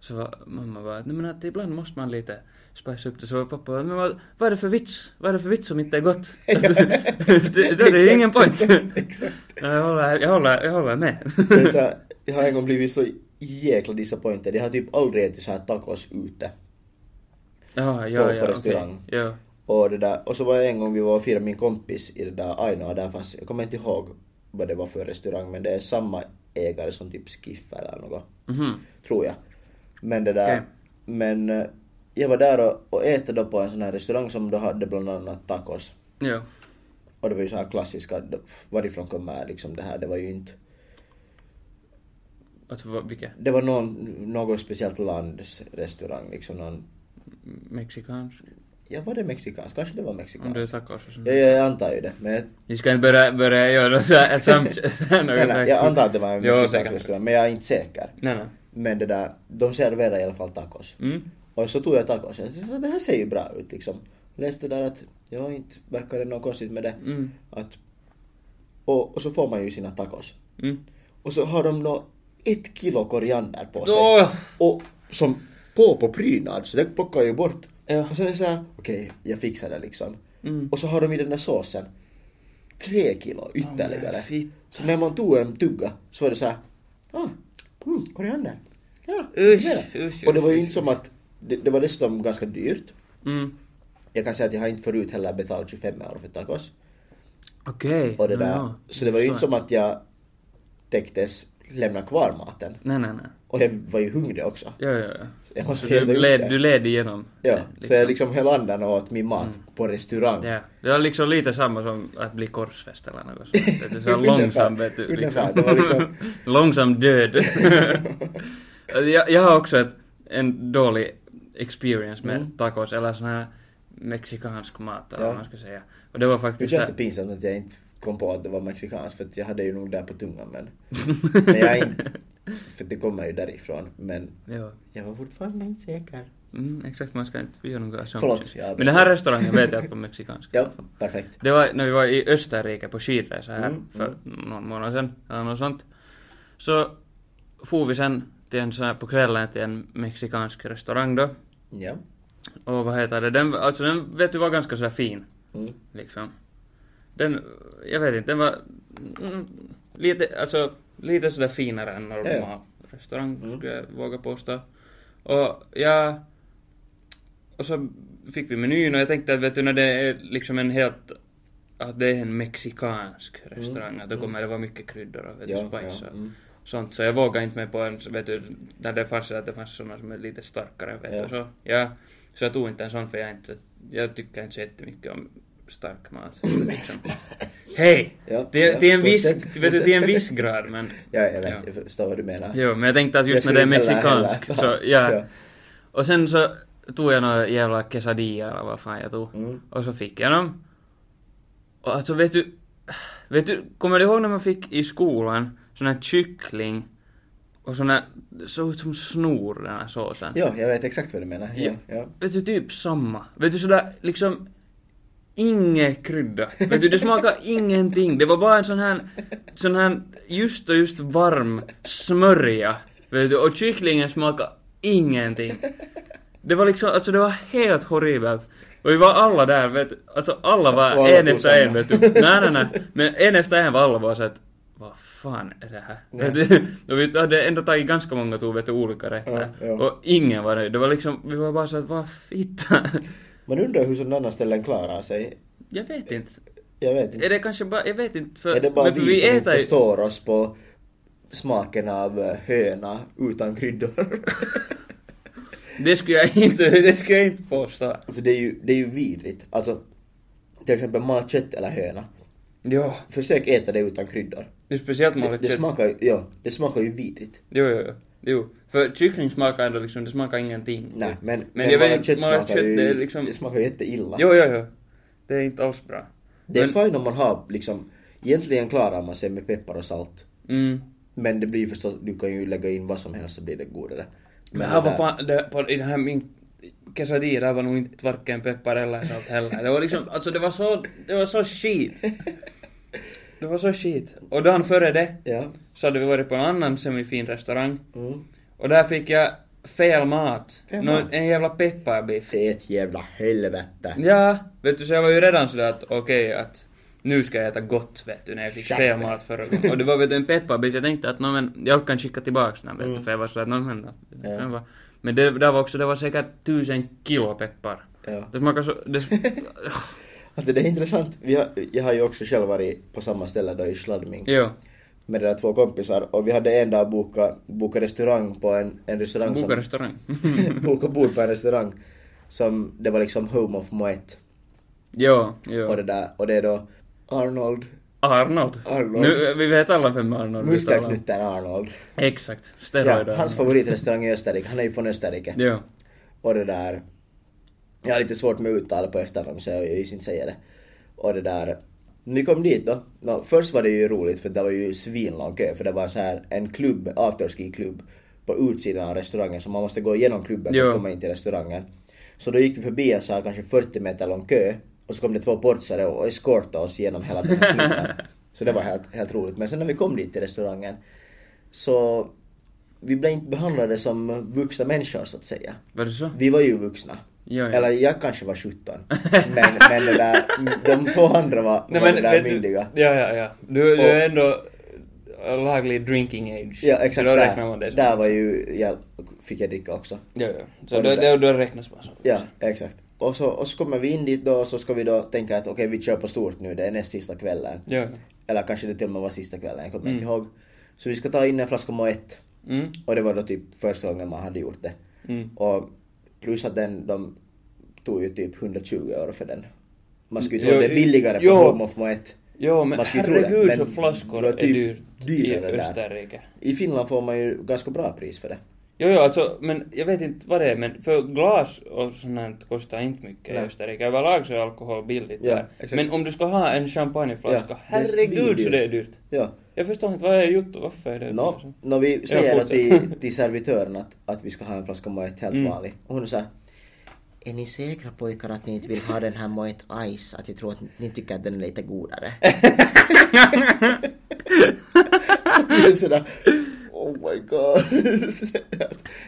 Speaker 3: så var mamma bara, att, nej men att ibland måste man lite spice upp det. Så var pappa, men vad, vad är det för vits? Vad är det för vits som inte är gott? det, då är det ju ingen point.
Speaker 2: Exakt, exakt.
Speaker 3: Nej, jag, håller, jag, håller, jag håller med.
Speaker 2: Det är så här, jag har en gång blivit så jäkla disappointed. Jag har typ aldrig ätit så här tacos ute.
Speaker 3: ja, ja,
Speaker 2: På- på
Speaker 3: ja, okej.
Speaker 2: restaurang.
Speaker 3: Ja.
Speaker 2: Och, det där, och så var jag en gång, vi var och firade min kompis i det där Ainoa, där fanns, jag kommer inte ihåg vad det var för restaurang, men det är samma ägare som typ Skiff eller något,
Speaker 3: Mhm.
Speaker 2: tror jag. Men det där,
Speaker 3: Okej.
Speaker 2: men eh, jag var där och, och äta då på en sån här restaurang som då hade bland annat tacos.
Speaker 3: Ja.
Speaker 2: Och det var ju så här klassiska, då- varifrån kommer liksom det här, det var ju inte,
Speaker 3: Alltså vad- vilka?
Speaker 2: det var någon, något speciellt lands restaurang liksom, någon,
Speaker 3: Mexikansk?
Speaker 2: ja var det mexikansk? Kanske det var
Speaker 3: Om det är
Speaker 2: mexikansk?
Speaker 3: tacos och sånt.
Speaker 2: Ja, jag antar ju det, men jag
Speaker 3: Ni ska inte börja, börja göra så här assumptions.
Speaker 2: Nej, nej, jag antar att det var en
Speaker 3: Jo,
Speaker 2: mexikansk
Speaker 3: säkert.
Speaker 2: restaurang, men jag är inte säker.
Speaker 3: Nej, nej.
Speaker 2: Men det där, de serverar i alla fall tacos.
Speaker 3: Mm.
Speaker 2: Och så tog jag tacos jag tänkte, det här ser ju bra ut liksom. Läste där att, ja inte verkar det något konstigt med det.
Speaker 3: Mm.
Speaker 2: Att, och, och så får man ju sina tacos.
Speaker 3: Mm.
Speaker 2: Och så har de nå ett kilo koriander på sig.
Speaker 3: Åh!
Speaker 2: Och som på på prydnad, så det plockar jag ju bort.
Speaker 3: Ja.
Speaker 2: Och sen är det såhär, okej jag fixar det liksom.
Speaker 3: Mm.
Speaker 2: Och så har de i den där såsen tre kilo ytterligare.
Speaker 3: men fitta.
Speaker 2: så när man tog en tugga så var det såhär, ah, mm, koriander. Ja,
Speaker 3: Usch,
Speaker 2: det är det.
Speaker 3: usch,
Speaker 2: Och det var ju
Speaker 3: usch,
Speaker 2: inte som att, det, det var dessutom ganska dyrt.
Speaker 3: Mm.
Speaker 2: Jag kan säga att jag har inte förut heller betalat 25 euro för tacos.
Speaker 3: Okej.
Speaker 2: Och det
Speaker 3: Ja,
Speaker 2: där,
Speaker 3: ja.
Speaker 2: så det var ju inte som att jag tänktes lämna kvar maten.
Speaker 3: Nej, nej, nej.
Speaker 2: Och jag var ju hungrig också.
Speaker 3: Ja, ja, ja.
Speaker 2: Så jag måste
Speaker 3: Så
Speaker 2: ju
Speaker 3: du,
Speaker 2: ut
Speaker 3: led,
Speaker 2: det.
Speaker 3: du led igenom.
Speaker 2: Ja,
Speaker 3: det,
Speaker 2: så jag liksom höll andan och åt min mat på restaurang.
Speaker 3: Eh, Mm. Ja. Det var liksom lite samma som att bli korsfäst eller något sånt. vet du. Så här långsam, vet du.
Speaker 2: Ungefär, det var liksom-
Speaker 3: långsam död. Alltså, jag, jag har också ett, en dålig experience med tacos eller sån här mexikansk mat eller
Speaker 2: Mm. Ja.
Speaker 3: vad man ska säga. Och det var
Speaker 2: Nu
Speaker 3: faktiskt...
Speaker 2: känns
Speaker 3: så
Speaker 2: det
Speaker 3: här-
Speaker 2: pinsamt att jag inte kom på att det var mexikanskt för att jag hade ju nog där på tungan men... men jag är inte... För det kommer ju därifrån men
Speaker 3: Ja.
Speaker 2: jag var fortfarande inte säker.
Speaker 3: Mm, exakt, man ska inte göra några
Speaker 2: Förlåt,
Speaker 3: assumptions.
Speaker 2: jag-
Speaker 3: Men den här restaurangen vet jag att på mexikanska.
Speaker 2: Ja, perfekt.
Speaker 3: Det var när vi var i Österrike på skidresa här
Speaker 2: Mm,
Speaker 3: för någon månad sedan eller något sånt. Så for vi sen till en sån här på kvällen till en mexikansk restaurang då.
Speaker 2: Ja.
Speaker 3: Och vad heter det, den, alltså den vet du var ganska sådär fin
Speaker 2: Mm.
Speaker 3: liksom. Den, jag vet inte, den var mm, lite, alltså lite sådär finare än normal
Speaker 2: Ja,
Speaker 3: restaurang
Speaker 2: Mm.
Speaker 3: skulle jag våga påstå. Och jag, och så fick vi menyn och jag tänkte att vet du när det är liksom en helt, att det är en mexikansk restaurang, att då kommer det vara mycket kryddor och vet du,
Speaker 2: Mm. Ja,
Speaker 3: spice
Speaker 2: ja,
Speaker 3: och
Speaker 2: mm.
Speaker 3: sånt. Så jag vågade inte mig på en, vet du, när det fanns, att det fanns sådana som är lite starkare vet
Speaker 2: Ja.
Speaker 3: du. Så, ja, så jag tog inte en sån för jag, är inte, jag tycker inte så jättemycket om stark mat. Liksom. Hej!
Speaker 2: Ja,
Speaker 3: Till,
Speaker 2: ja,
Speaker 3: till, en viss,
Speaker 2: fortsätt,
Speaker 3: vet du, till en viss grad men...
Speaker 2: Ja, jag vet, jag förstår vad du menar.
Speaker 3: Jo, men jag tänkte att just när
Speaker 2: Jag
Speaker 3: det är
Speaker 2: skulle inte heller-
Speaker 3: mexikansk så,
Speaker 2: heller-
Speaker 3: ja. Och sen så tog jag några jävla quesadilla eller vad fan jag tog.
Speaker 2: Mm.
Speaker 3: Och så fick jag dem. Och alltså vet du, vet du, kommer du ihåg när man fick i skolan sån här kyckling och sån här, såg ut som snor den här såsen?
Speaker 2: Ja, jag vet exakt vad du menar. Ja, ja.
Speaker 3: Vet du, typ samma. Vet du sådär liksom, ingen krydda. Vet du, det smakar ingenting. Det var bara en sån här, sån här just och just varm smörja. Vet du, och kycklingen smakar ingenting. Det var liksom, alltså det var helt horribelt. Och vi var alla där, vet du. Alltså alla var
Speaker 2: Och alla
Speaker 3: en
Speaker 2: tog
Speaker 3: efter en,
Speaker 2: samma.
Speaker 3: vet du. Nej, nej, nej. Men en efter en var alla bara så att, vad fan är det här?
Speaker 2: Nej.
Speaker 3: Vet du, Och vi hade ändå tagit ganska många tog, vet du, olika rätter.
Speaker 2: Ja, ja.
Speaker 3: och ingen var nöjd. Det var liksom, vi var bara så att vad fitta?
Speaker 2: Man undrar hur sådana ställen klarar sig.
Speaker 3: jag vet inte.
Speaker 2: Jag vet inte.
Speaker 3: Är det kanske bara, jag vet inte för...
Speaker 2: Är det bara
Speaker 3: men för
Speaker 2: vi som inte
Speaker 3: äter ju-
Speaker 2: förstår oss på smaken av eh, höna utan kryddor?
Speaker 3: Det skulle jag inte, det skulle jag inte påstå.
Speaker 2: alltså det är ju, det är ju vidrigt. Alltså, till exempel malt kött eller höna.
Speaker 3: Ja.
Speaker 2: Försök äta det utan kryddor.
Speaker 3: Det är speciellt
Speaker 2: Det,
Speaker 3: malet
Speaker 2: det
Speaker 3: kött.
Speaker 2: smakar ju, ja, det smakar ju vidrigt.
Speaker 3: Jo, jo, jo. Jo. För kyckling smakar ändå liksom, det smakar ingenting.
Speaker 2: Nej, men, men,
Speaker 3: jag vet
Speaker 2: malat
Speaker 3: inte,
Speaker 2: kött
Speaker 3: malat
Speaker 2: smakar
Speaker 3: kött
Speaker 2: ju,
Speaker 3: det är liksom...
Speaker 2: det smakar ju jätteilla.
Speaker 3: Jo, jo, jo. Det är inte alls bra.
Speaker 2: Det är
Speaker 3: Men-
Speaker 2: fint om man har liksom, egentligen klarar man sig med peppar och salt.
Speaker 3: Mm.
Speaker 2: Men det blir ju förstås, du kan ju lägga in vad som helst så blir det godare.
Speaker 3: Men här
Speaker 2: det
Speaker 3: var
Speaker 2: där-
Speaker 3: fan, det, på, i den här min quesadilla där var nog inte varken peppar eller salt heller. Det var liksom, alltså det var så, det var så skit. Det var så skit. Och dagen före det
Speaker 2: Ja.
Speaker 3: så hade vi varit på en annan semifin restaurang
Speaker 2: Mm.
Speaker 3: och där fick jag fel mat.
Speaker 2: Fel
Speaker 3: Nå-
Speaker 2: mat?
Speaker 3: En jävla pepparbiff.
Speaker 2: Fet jävla helvete.
Speaker 3: Ja, vet du så jag var ju redan sådär att okej att nu ska jag äta gott vet du när jag fick
Speaker 2: Exakt.
Speaker 3: fel mat förra gången. Och det var vet du en pepparbiff, jag tänkte att nå men jag kan skicka tillbaks den vet du för jag var sådär att nå men.
Speaker 2: Mm. Ja.
Speaker 3: den var- Men det där var också, det var säkert tusen kilo peppar.
Speaker 2: Ja.
Speaker 3: Det smakar så, det,
Speaker 2: Alltså det är intressant. Vi har, jag har ju också själv varit på samma ställe då i Schladming
Speaker 3: jo.
Speaker 2: med de där två kompisar och vi hade en dag bokat boka restaurang på en, en restaurang
Speaker 3: Boka restaurang.
Speaker 2: som... boka bord på en restaurang som det var liksom Home of Moet
Speaker 3: jo,
Speaker 2: och
Speaker 3: jo.
Speaker 2: det där och det är då Arnold,
Speaker 3: Arnold.
Speaker 2: Arnold.
Speaker 3: Nu, vi vet alla vem Arnold vi talar om.
Speaker 2: muskelknutten Arnold.
Speaker 3: Exakt. Steroider.
Speaker 2: Ja, hans favoritrestaurang i Österrike, han är ju från Österrike.
Speaker 3: Jo.
Speaker 2: Och det där... Jag har lite svårt med uttal på efternamn så jag just inte säger det. Och det där... Vi kom dit då. Nå, först var det ju roligt för det var ju svinlång kö för det var så här en klubb, afterski-klubb på utsidan av restaurangen så man måste gå igenom klubben för
Speaker 3: Jo.
Speaker 2: att komma in till restaurangen. Så då gick vi förbi en så här kanske 40 meter lång kö och så kom det två portsare och eskortade oss genom hela den här klubben. Så det var helt, helt roligt. Men sen när vi kom dit till restaurangen så vi blev inte behandlade som vuxna människor så att säga.
Speaker 3: Var det så?
Speaker 2: Vi var ju vuxna.
Speaker 3: Jo, jo.
Speaker 2: Eller jag kanske var 17. Men, men det där, de två andra var, var det där
Speaker 3: vet du-
Speaker 2: myndiga.
Speaker 3: Ja, ja, ja. Du, du
Speaker 2: Och-
Speaker 3: är ändå laglig drinking age.
Speaker 2: Ja exakt,
Speaker 3: Då räknar man
Speaker 2: där,
Speaker 3: det som
Speaker 2: där var ju, jag fick jag dricka också.
Speaker 3: Ja, ja. Så
Speaker 2: Och
Speaker 3: då,
Speaker 2: det där.
Speaker 3: då, då räknas man som
Speaker 2: Ja, exakt. Och så, och så kommer vi in dit då och så ska vi då tänka att okej vi kör på stort nu, det är näst sista kvällen.
Speaker 3: Ja, ja.
Speaker 2: Eller kanske det till och med var sista kvällen, jag kommer inte ihåg. Så vi ska ta in en flaska Moët.
Speaker 3: Mm.
Speaker 2: Och det var då typ första gången man hade gjort det.
Speaker 3: Mm.
Speaker 2: Och plus att den, de tog ju typ 120 euro för den. Man skulle ju
Speaker 3: Jo,
Speaker 2: tro att det är billigare på
Speaker 3: jo.
Speaker 2: Home of Moet.
Speaker 3: Jo, men
Speaker 2: Man skulle tro det,
Speaker 3: herregud så
Speaker 2: men
Speaker 3: flaskor
Speaker 2: det
Speaker 3: är
Speaker 2: var typ
Speaker 3: dyrt i
Speaker 2: dyrare där.
Speaker 3: Österrike.
Speaker 2: I Finland får man ju ganska bra pris för det.
Speaker 3: Jo, jo, alltså, men jag vet inte vad det är, men för glas och sånt här kostar inte mycket i
Speaker 2: Nej.
Speaker 3: Österrike. Överlag så är alkohol billigt
Speaker 2: Ja,
Speaker 3: där.
Speaker 2: exakt.
Speaker 3: Men om du ska ha en champagneflaska,
Speaker 2: Ja, det är
Speaker 3: herregud så
Speaker 2: svindyrt.
Speaker 3: det är dyrt.
Speaker 2: Ja.
Speaker 3: Jag förstår inte, vad är gjort och varför är det
Speaker 2: Nå,
Speaker 3: dyrt?
Speaker 2: no, vi
Speaker 3: Ja,
Speaker 2: säger då
Speaker 3: fortsätt.
Speaker 2: till, till servitören att, att vi ska ha en flaska Moet helt
Speaker 3: Mm.
Speaker 2: vanlig. Och hon säger är ni säkra pojkar att ni inte vill ha den här Moet Ice? Att jag tror att ni tycker att den är lite godare. Jag är sådär, oh my god.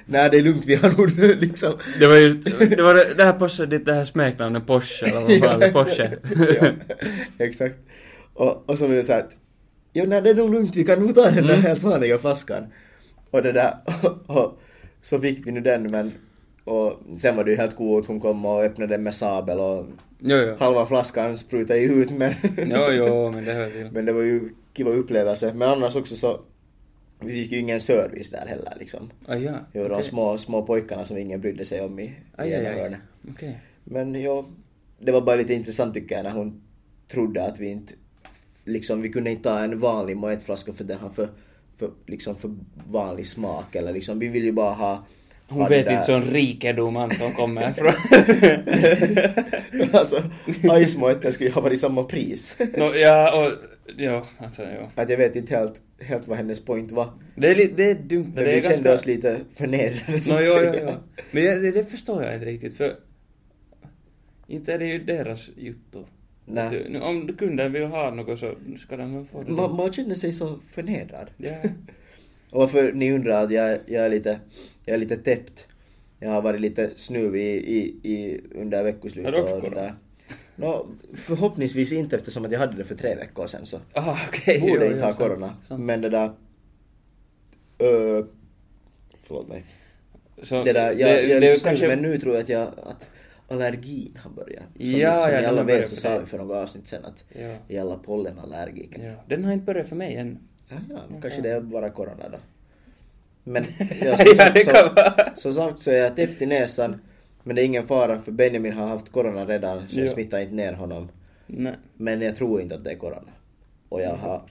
Speaker 2: Nej det är lugnt, vi har nog liksom...
Speaker 3: Det var just, det var det, det här passade ditt det här smeknamnet Porsche eller vad fan det är, Porsche.
Speaker 2: ja, exakt. Och, och så var det så här att, jo nej det är nog lugnt, vi kan nog ta den
Speaker 3: Mm.
Speaker 2: där helt vanliga flaskan. Och det där, och, och, så fick vi nu den men, och sen var det ju helt coolt, hon kom och öppnade den med sabel och
Speaker 3: jo, jo.
Speaker 2: halva flaskan sprutade ju ut men,
Speaker 3: Jo, jo, men det hör till.
Speaker 2: men det var ju kiva upplevelse. Men annars också så, vi fick ju ingen service där heller liksom.
Speaker 3: Ah, ja.
Speaker 2: Det var de
Speaker 3: okej.
Speaker 2: små, små pojkarna som ingen brydde sig om i, i
Speaker 3: Aj, aj,
Speaker 2: ena
Speaker 3: aj.
Speaker 2: hörnet.
Speaker 3: Okej.
Speaker 2: Men ja, det var bara lite intressant tycker jag när hon trodde att vi inte, liksom vi kunde inte ta en vanlig moetflaska för den har för, för, liksom för vanlig smak eller liksom, vi vill ju bara ha
Speaker 3: Hon
Speaker 2: ha
Speaker 3: vet
Speaker 2: det där-
Speaker 3: inte sån rikedom Anton kommer ifrån.
Speaker 2: alltså, ice-moetten skulle ju ha varit samma pris.
Speaker 3: Nå, ja, och... Ja, alltså jo.
Speaker 2: att jag vet inte helt, helt vad hennes point var.
Speaker 3: Det är, li- det är dumt, men
Speaker 2: Men vi
Speaker 3: det är
Speaker 2: kände
Speaker 3: ganska...
Speaker 2: oss lite förnedrade så
Speaker 3: Nå,
Speaker 2: att
Speaker 3: jo, jo,
Speaker 2: säga.
Speaker 3: jo. Men jag, det, det förstår jag inte riktigt, för... Inte är det ju deras juttu.
Speaker 2: Nej.
Speaker 3: Vet du, nu Om kunden vill ha något så ska de väl få det.
Speaker 2: Man, man känner sig så förnedrad.
Speaker 3: Ja.
Speaker 2: Och varför ni undrar att jag, jag är lite, jag är lite täppt. Jag har varit lite snuvig i, i, i under veckoslutet
Speaker 3: Har du också
Speaker 2: och det
Speaker 3: corona?
Speaker 2: där. No, förhoppningsvis inte eftersom att jag hade det för tre veckor sedan så
Speaker 3: Aha, Ah, okej.
Speaker 2: borde
Speaker 3: jo,
Speaker 2: inte
Speaker 3: jo,
Speaker 2: ha
Speaker 3: sant,
Speaker 2: corona.
Speaker 3: sant.
Speaker 2: Men det där... Uh, förlåt mig.
Speaker 3: Så
Speaker 2: Det där, jag, jag
Speaker 3: det är
Speaker 2: det,
Speaker 3: ju kanske-
Speaker 2: men nu tror jag att, jag att allergin har börjat. Som,
Speaker 3: Ja,
Speaker 2: som ni
Speaker 3: ja, den
Speaker 2: alla
Speaker 3: har
Speaker 2: vet
Speaker 3: börjat
Speaker 2: så
Speaker 3: för
Speaker 2: sa
Speaker 3: dig.
Speaker 2: vi för några avsnitt sen att
Speaker 3: Ja.
Speaker 2: vi är alla pollenallergiker.
Speaker 3: Ja. Den har inte börjat för mig än.
Speaker 2: Ja, ja, men kanske det är bara corona då. Men ja,
Speaker 3: Ja,
Speaker 2: som, sagt,
Speaker 3: det kan
Speaker 2: så,
Speaker 3: vara.
Speaker 2: som sagt så är jag täppt i näsan. Men det är ingen fara för Benjamin har haft corona redan så jag
Speaker 3: Ja.
Speaker 2: smittar inte ner honom.
Speaker 3: Nej.
Speaker 2: Men jag tror inte att det är corona. Och jag har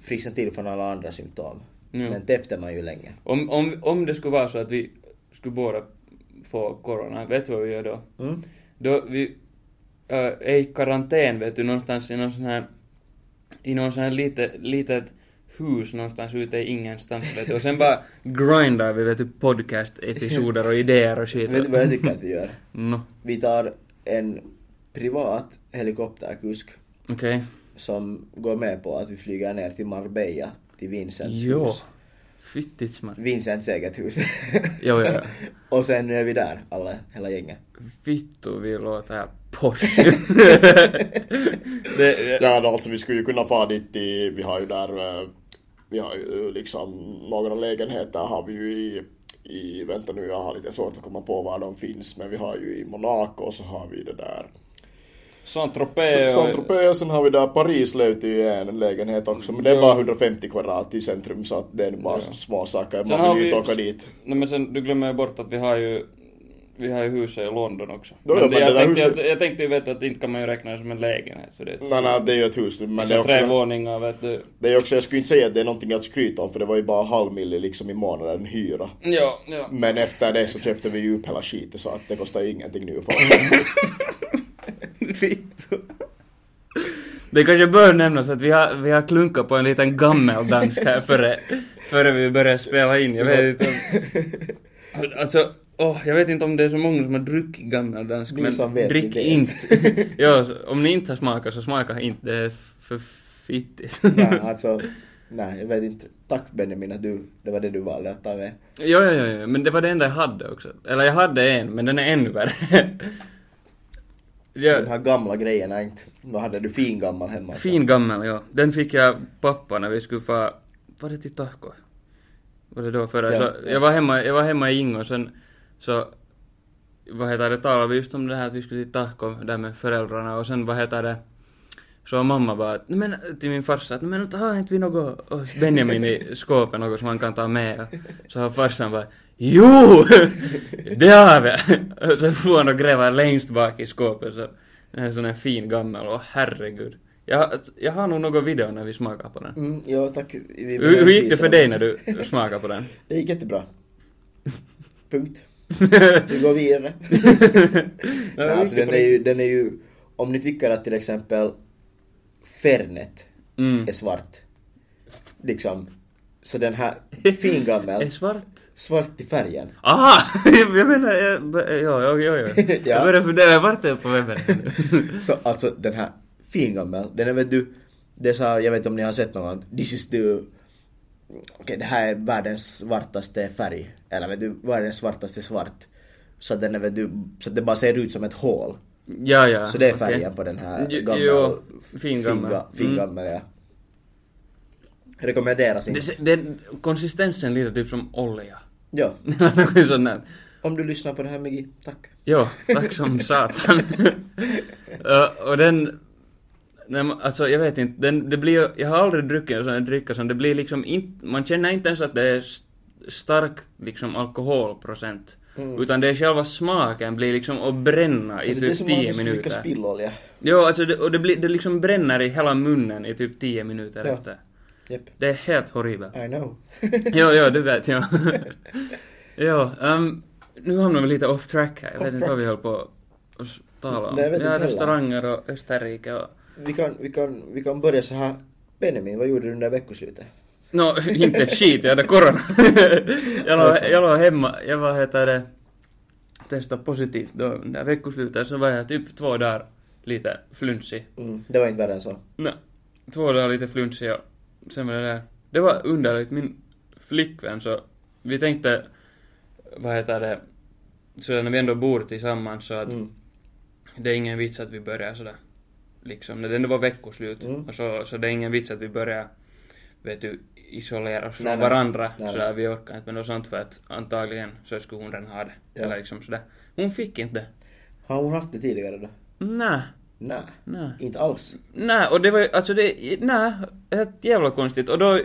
Speaker 2: frisknat till från alla andra symptom.
Speaker 3: Ja.
Speaker 2: Men täppt är man ju länge.
Speaker 3: Om, om, om det skulle vara så att vi skulle båda få corona, vet du vad vi gör då?
Speaker 2: Mm?
Speaker 3: Då vi äh, är i karantän, vet du, någonstans i någon sån här, i någon sån här lite, litet hus någonstans ute i ingenstans, vet du. Och sen bara grindar vi, vet du, podcast-episoder och idéer och
Speaker 2: Vet
Speaker 3: skit.
Speaker 2: du vad jag tycker att vi gör?
Speaker 3: Nå,
Speaker 2: Vi tar en privat helikopterkusk
Speaker 3: okej.
Speaker 2: som går med på att vi flyger ner till Marbella, till Vincents
Speaker 3: Jo.
Speaker 2: hus.
Speaker 3: Fittigt smart.
Speaker 2: Vincents eget hus.
Speaker 3: Jo, jo, jo.
Speaker 2: Och sen nu är vi där, alla, hela gänget.
Speaker 3: Vittu, vi låter posh. det,
Speaker 4: Ja, no, alltså vi skulle ju kunna fara dit i, vi har ju där, eh, vi har ju liksom några lägenheter har vi ju i, i, vänta nu jag har lite svårt att komma på var de finns, men vi har ju i Monaco och så har vi det där
Speaker 3: Saint-Tropez och-
Speaker 4: Saint-Tropez och sen har vi där Paris löytyy ju en lägenhet också, men det är
Speaker 3: Ja.
Speaker 4: bara 150 kvadrat i centrum så att det är bara
Speaker 3: Ja.
Speaker 4: små saker,
Speaker 3: Sen har
Speaker 4: man vill ju
Speaker 3: vi-
Speaker 4: inte åka dit.
Speaker 3: Nej men sen, du glömmer ju bort att vi har ju vi har ju huset i London också.
Speaker 4: Jo, jo, men
Speaker 3: jag,
Speaker 4: det där
Speaker 3: tänkte,
Speaker 4: huset-
Speaker 3: jag, jag tänkte ju veta att inte kan man ju räkna det som en lägenhet för det är ett-
Speaker 4: Nej, nej, det är ju ett hus, men
Speaker 3: alltså
Speaker 4: det är
Speaker 3: tre
Speaker 4: också...
Speaker 3: våningar vet du.
Speaker 4: Det är också, jag skulle inte säga att det är någonting att skryta om för det var ju bara halv milli liksom i månaden hyra.
Speaker 3: Ja, ja.
Speaker 4: Men efter det så köpte vi ju upp hela skiten så att det kostar ingenting nu för oss.
Speaker 3: Vittu. Det kanske bör nämnas att vi har, vi har klunkat på en liten gammeldansk här före, före vi började spela in. Jag vet inte om... Alltså, åh, jag vet inte om det är så många som har druckit gammeldansk,
Speaker 2: Ni
Speaker 3: men
Speaker 2: som vet, ni
Speaker 3: drick
Speaker 2: vet.
Speaker 3: inte. ja, om ni inte har smakat så smaka inte, det är för fittigt.
Speaker 2: Ja, alltså, nej, jag vet inte. Tack Benjamin att du, det var det du valde att ta med.
Speaker 3: Jo, jo, jo, jo, men det var det enda jag hade också. Eller jag hade en, men den är ännu värre.
Speaker 2: De
Speaker 3: ja,
Speaker 2: här gamla grejerna inte. Vad hade du fin gammal hemma?
Speaker 3: fin gammal, ja. Den fick jag pappa när vi skulle få... Var det till Tahko? Var det då förra?
Speaker 2: Ja,
Speaker 3: så
Speaker 2: ja.
Speaker 3: Jag, var hemma, jag var hemma i Ingo sen så... Vad heter det, talade vi just om det här att vi skulle till Tahko där med föräldrarna och sen vad heter det... Så mamma bara att, "No men, till min farsa att "No men har inte vi något hos Benjamin i skåpet något som han kan ta med? Och Så har farsan bara Jo! Det har vi! Och så får han och gräva längst bak i skåpet så en sån här fin gammal och herregud. Jag, jag har nog någon video när vi smakar på den.
Speaker 2: Mm, ja, tack. Vi
Speaker 3: Hur, hur gick det för dig när du smakade på den?
Speaker 2: Det gick jättebra. Punkt. Vi går vidare. Nej, alltså, den, är ju, den är ju, om ni tycker att till exempel Fernet
Speaker 3: Mm.
Speaker 2: är svart, liksom, så den här fin
Speaker 3: Är
Speaker 2: gammal,
Speaker 3: svart?
Speaker 2: svart i färgen.
Speaker 3: Aha! Jag menar, jag, jo, jo, jo, jo.
Speaker 2: Ja.
Speaker 3: Jag börjar fundera, vart är jag på webben nu?
Speaker 2: Så alltså den här fingammel, den är vet du, det sa, jag vet inte om ni har sett någon, this is the, okej det här är världens svartaste färg, eller vet du, världens svartaste svart. Så att den är vet du, så att det bara ser ut som ett hål.
Speaker 3: Ja, ja.
Speaker 2: Så det är
Speaker 3: okej.
Speaker 2: färgen på den här
Speaker 3: Jo, Mm.
Speaker 2: gamla,
Speaker 3: jo, fin gammal.
Speaker 2: finga- fingammel, ja. Rekommenderas inte.
Speaker 3: Det, se- den, konsistensen lite typ som olja.
Speaker 2: Ja.
Speaker 3: Något sånt där.
Speaker 2: Om du lyssnar på det här Migi, tack.
Speaker 3: Jo, tack som satan. Ö, och den... Nej, men alltså jag vet inte, den, det blir ju- jag har aldrig druckit en sån här dryck och sånt, det blir liksom inte, man känner inte ens att det är st- stark liksom alkoholprocent. Utan det är själva smaken blir liksom att bränna i
Speaker 2: Mm. Alltså,
Speaker 3: typ 10
Speaker 2: skulle dricka
Speaker 3: minuter.
Speaker 2: spillolja.
Speaker 3: Jo, alltså det, och det, blir, det liksom bränner i hela munnen i typ 10 minuter
Speaker 2: Ja.
Speaker 3: efter.
Speaker 2: Japp,
Speaker 3: Det är helt horribelt.
Speaker 2: I know.
Speaker 3: jo, jo, det vet jag. jo, ehm, nu hamnar vi lite off track här. Jag vet
Speaker 2: Off
Speaker 3: inte vad
Speaker 2: track.
Speaker 3: vi höll på att tala om.
Speaker 2: Nej, jag vet inte
Speaker 3: ja,
Speaker 2: heller.
Speaker 3: restauranger och Österrike och...
Speaker 2: Vi kan, vi, kan, vi kan börja så här. Benjamin, vad gjorde du under veckoslutet?
Speaker 3: Nå, inte ett skit, jag hade corona. jag, var, jag var hemma, jag var heter det, testade positivt då under veckoslutet, så var jag typ två dagar lite flunsig.
Speaker 2: Mm, det var inte värre än så.
Speaker 3: Nå, två dagar lite flunsig och sen var det där. Det var underligt, min flickvän så, vi tänkte, vad heter det, så när vi ändå bor tillsammans så att
Speaker 2: Mm.
Speaker 3: det är ingen vits att vi börjar sådär. Liksom, när det ändå var veckoslut.
Speaker 2: Mm.
Speaker 3: Och så, så det är ingen vits att vi börjar, vet du, isolera oss från
Speaker 2: Nej, nej.
Speaker 3: varandra.
Speaker 2: Nej,
Speaker 3: sådär, vi orkar inte med något sånt för att antagligen så skulle hon redan ha det.
Speaker 2: Ja.
Speaker 3: Eller liksom sådär. Hon fick inte det.
Speaker 2: Har hon haft det tidigare då?
Speaker 3: Nej.
Speaker 2: Nej.
Speaker 3: Nej.
Speaker 2: Inte alls.
Speaker 3: Nej, och det var ju, alltså det, nej, helt jävla konstigt. Och då,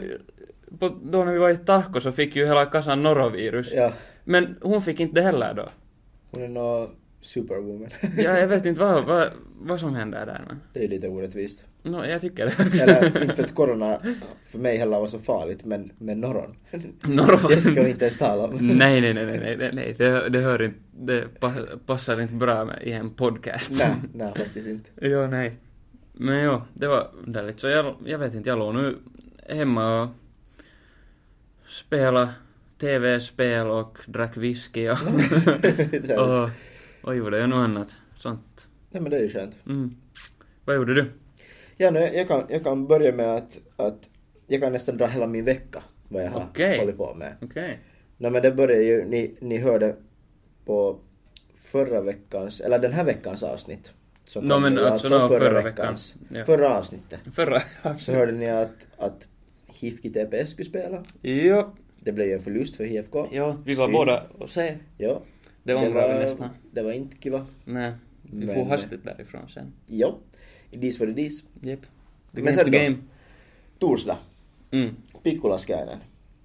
Speaker 3: på, då när vi var i Tahko så fick ju hela kassan norovirus.
Speaker 2: Ja.
Speaker 3: Men hon fick inte det heller då.
Speaker 2: Hon är nå superwoman.
Speaker 3: Ja, jag vet inte vad, vad, vad som händer där men.
Speaker 2: Det är lite orättvist.
Speaker 3: Nå, jag tycker det också.
Speaker 2: Eller inte för att corona för mig heller var så farligt men, men norron.
Speaker 3: Norron.
Speaker 2: Det ska vi inte ens tala om.
Speaker 3: Nej, nej, nej, nej, nej, nej, nej. Det, det hör inte, det pa- passar inte bra med, i en podcast.
Speaker 2: Nej, nej faktiskt inte.
Speaker 3: jo, nej. Men jo, det var underligt. Så jag, jag vet inte, jag låg nu hemma och spelade tv-spel och drack whisky och,
Speaker 2: Trevligt.
Speaker 3: och, och gjorde ju något annat. Sånt.
Speaker 2: Nej men det är ju skönt.
Speaker 3: Mm. Vad gjorde du?
Speaker 2: Ja, nu, jag, kan, jag kan börja med att, att jag kan nästan dra hela min vecka vad jag har
Speaker 3: Okej.
Speaker 2: hållit på med.
Speaker 3: Okej.
Speaker 2: Nej men det börjar ju, ni, ni hörde på förra veckans, eller den här veckans avsnitt. Så
Speaker 3: Nå,
Speaker 2: kom
Speaker 3: men
Speaker 2: det ju
Speaker 3: alltså, nå, förra veckans, ja.
Speaker 2: Förra avsnittet.
Speaker 3: Förra
Speaker 2: Så hörde ni att, att HIFK TPS skulle spela.
Speaker 3: Jo.
Speaker 2: Det blev ju en förlust för HIFK.
Speaker 3: Jo, vi var
Speaker 2: Synd.
Speaker 3: båda och se.
Speaker 2: Ja.
Speaker 3: Det ångrar vi nästan.
Speaker 2: Det var inte kiva.
Speaker 3: Nej, vi
Speaker 2: Men-
Speaker 3: får hastigt därifrån sen.
Speaker 2: Ja. Dis var det dis.
Speaker 3: Jep. Det
Speaker 2: Men
Speaker 3: går
Speaker 2: sen
Speaker 3: inte
Speaker 2: då?
Speaker 3: game.
Speaker 2: Torsdag.
Speaker 3: Mm.
Speaker 2: Pikkulaskainen.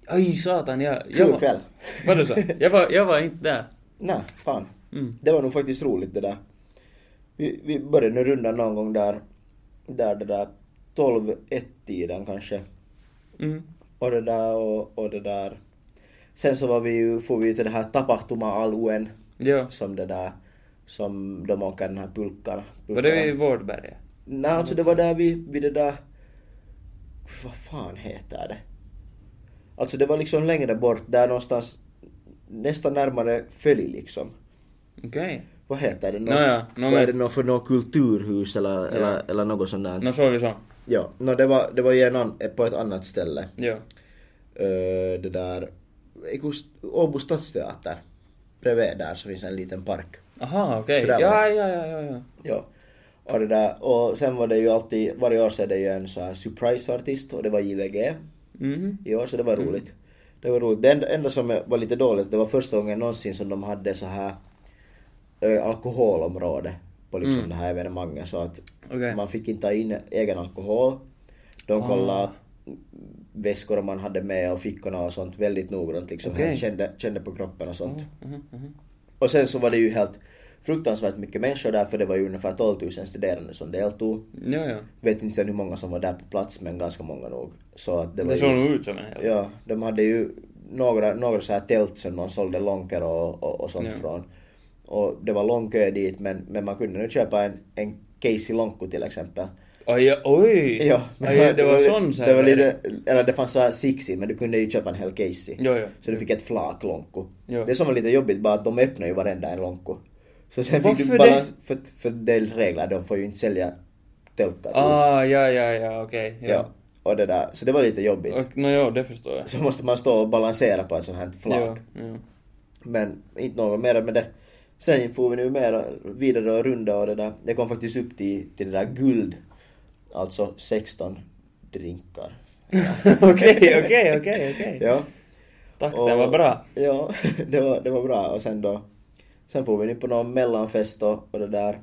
Speaker 3: Aj satan, jag... jag
Speaker 2: Kul
Speaker 3: var-
Speaker 2: kväll.
Speaker 3: Vad du sa? Jag var, jag var inte där.
Speaker 2: Nej, fan.
Speaker 3: Mm.
Speaker 2: Det var nog faktiskt roligt det där. Vi, vi började nu runda någon gång där, där det där 12-1 tiden kanske.
Speaker 3: Mm.
Speaker 2: Och det där och, och det där. Sen så var vi ju, får vi ju till det här tapahtuma-aluen
Speaker 3: Jo.
Speaker 2: som det där, som de åker den här pulkan.
Speaker 3: Var det i Vårdberga?
Speaker 2: Nej, alltså det var där vi, vid det där... Vad fan heter det? Alltså det var liksom längre bort, där någonstans nästan närmare Följ liksom.
Speaker 3: Okej.
Speaker 2: Vad heter det? Nå,
Speaker 3: Nåja, nå
Speaker 2: vad
Speaker 3: men-
Speaker 2: är det nå för något kulturhus eller, eller, eller något sånt där?
Speaker 3: Nå såg vi så.
Speaker 2: Ja, nå det var, det var ju en an, på ett annat ställe.
Speaker 3: Jo.
Speaker 2: Ö, det där... Eiku st- Åbo stadsteater. Bredvid där så finns en liten park.
Speaker 3: Aha, okej.
Speaker 2: Sådär var
Speaker 3: Ja,
Speaker 2: det.
Speaker 3: ja, ja, ja, ja.
Speaker 2: Ja. Och, det där, och sen var det ju alltid, varje år så är det ju en så här surprise-artist och det var JVG
Speaker 3: Mhm.
Speaker 2: i år så det var roligt. Det var roligt. Det enda, enda som var lite dåligt, det var första gången någonsin som de hade så här ö, alkoholområde på liksom det här evenemanget så att
Speaker 3: Mm. Okej. Ah.
Speaker 2: man fick inte ta in egen alkohol. De kollade väskor man hade med och fickorna och sånt väldigt noggrant liksom.
Speaker 3: Okej.
Speaker 2: Kände, kände på kroppen och sånt.
Speaker 3: Mhm, mhm.
Speaker 2: Och sen så var det ju helt fruktansvärt mycket människor där för det var ju ungefär 12 000 studerande som deltog.
Speaker 3: Jo, jo.
Speaker 2: Vet inte sen hur många som var där på plats men ganska många nog. Så att det var
Speaker 3: Det såg
Speaker 2: ju,
Speaker 3: nog ut som en hel
Speaker 2: Ja, de hade ju några, några så här tält som de sålde lonker och, och, och sånt
Speaker 3: Ja.
Speaker 2: från. Och det var lång kö dit men, men man kunde nu köpa en, en Casey Lonko till exempel.
Speaker 3: Oj, ja, oj!
Speaker 2: Ja,
Speaker 3: Aj, ja, det var
Speaker 2: li-
Speaker 3: sån så här
Speaker 2: Det var
Speaker 3: grej.
Speaker 2: lite, eller det fanns så här Sixi men du kunde ju köpa en hel Casey.
Speaker 3: Jo, jo.
Speaker 2: Så du fick ett flak lonko.
Speaker 3: Ja.
Speaker 2: Det som var lite jobbigt bara att de öppnade ju varenda en lonko. Så sen fick
Speaker 3: Varför
Speaker 2: du bara... För, för det är regler, de får ju inte sälja tölkar ut.
Speaker 3: Ah, ja, ja, ja, okej.
Speaker 2: Ja. Och det där, så det var lite jobbigt.
Speaker 3: Och, nå jo, det förstår jag.
Speaker 2: Så måste man stå och balansera på ett sånt här flak.
Speaker 3: Jo, jo.
Speaker 2: Men inte något mer med det. Sen får vi nu mera vidare och runda och det där. Det kom faktiskt upp till, till det där guld. Alltså 16 drinkar.
Speaker 3: Okej, okej, okej, okej.
Speaker 2: Ja.
Speaker 3: Takten var bra.
Speaker 2: Ja, det var, det var bra. Och sen då, sen får vi nu på någon mellanfest och, och det där.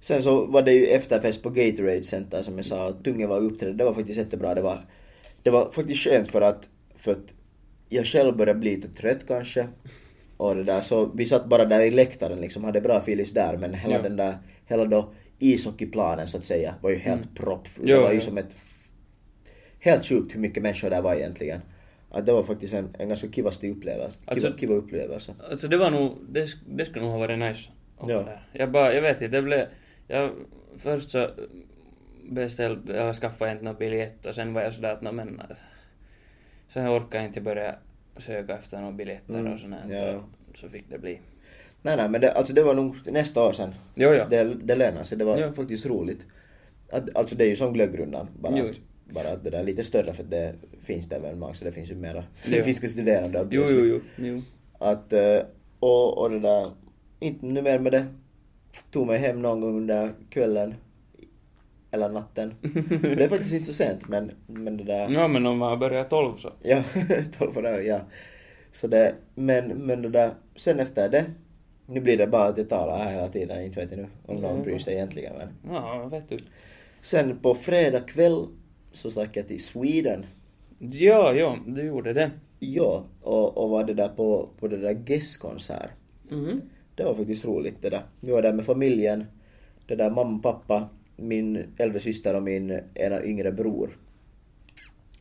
Speaker 2: Sen så var det ju efterfest på Gatorade Center som jag sa, och Tungen var uppträdd. Det var faktiskt jättebra. Det var, det var faktiskt skönt för att, för att jag själv började bli lite trött kanske. Och det där, så vi satt bara där i läktaren liksom, hade bra filis där men hela
Speaker 3: Ja.
Speaker 2: den där, hela då ishockeyplanen så att säga var ju helt proppfull.
Speaker 3: Mm. Jo,
Speaker 2: det var ju
Speaker 3: jo.
Speaker 2: som ett helt sjukt hur mycket människor där var egentligen. Att det var faktiskt en, en ganska kivasti upplevelse. Kiva,
Speaker 3: Alltså-
Speaker 2: kiva upplevelse.
Speaker 3: Alltså det var nog, det, sk- det skulle nog ha varit nice. att
Speaker 2: Ja.
Speaker 3: vara där. Jag bara, jag vet inte, det blev, jag, först så beställde, eller skaffade jag inte någon biljett och sen var jag sådär att nå men, alltså, att- sen orkade jag inte börja söka efter några biljetter
Speaker 2: Mm,
Speaker 3: och sånt här.
Speaker 2: ja.
Speaker 3: Och Så fick det bli.
Speaker 2: Nej, nej, men det, alltså det var nog nästa år sen.
Speaker 3: Jo, ja.
Speaker 2: Det, det lönar sig. Det var
Speaker 3: Ja.
Speaker 2: faktiskt roligt. Att, alltså det är ju som glöggrundan. Bara,
Speaker 3: Jo.
Speaker 2: att, bara att det där är lite större för att det finns det evenemang så det finns ju mera
Speaker 3: Jo.
Speaker 2: finska studerande.
Speaker 3: Jo,
Speaker 2: obviously.
Speaker 3: jo, jo. jo.
Speaker 2: Att, eh, och, och det där, inte nu mer med det. tog mig hem någon gång under kvällen. Eller natten. Det är faktiskt inte så sent men, men det där...
Speaker 3: Ja men om man börjar tolv så.
Speaker 2: Ja, 12 år, ja. Så det, men, men det där, sen efter det, nu blir det bara att jag talar här hela tiden, inte vet jag nu om någon
Speaker 3: Mm.
Speaker 2: bryr sig egentligen men.
Speaker 3: Ja, vet du.
Speaker 2: Sen på fredag kväll så stack jag till Sweden.
Speaker 3: Ja, ja, du gjorde det.
Speaker 2: Ja, och, och var det där på, på det där Gess-konsert.
Speaker 3: Mm.
Speaker 2: Det var faktiskt roligt det där. Vi var där med familjen, det där mamma, pappa, min äldre syster och min ena yngre bror.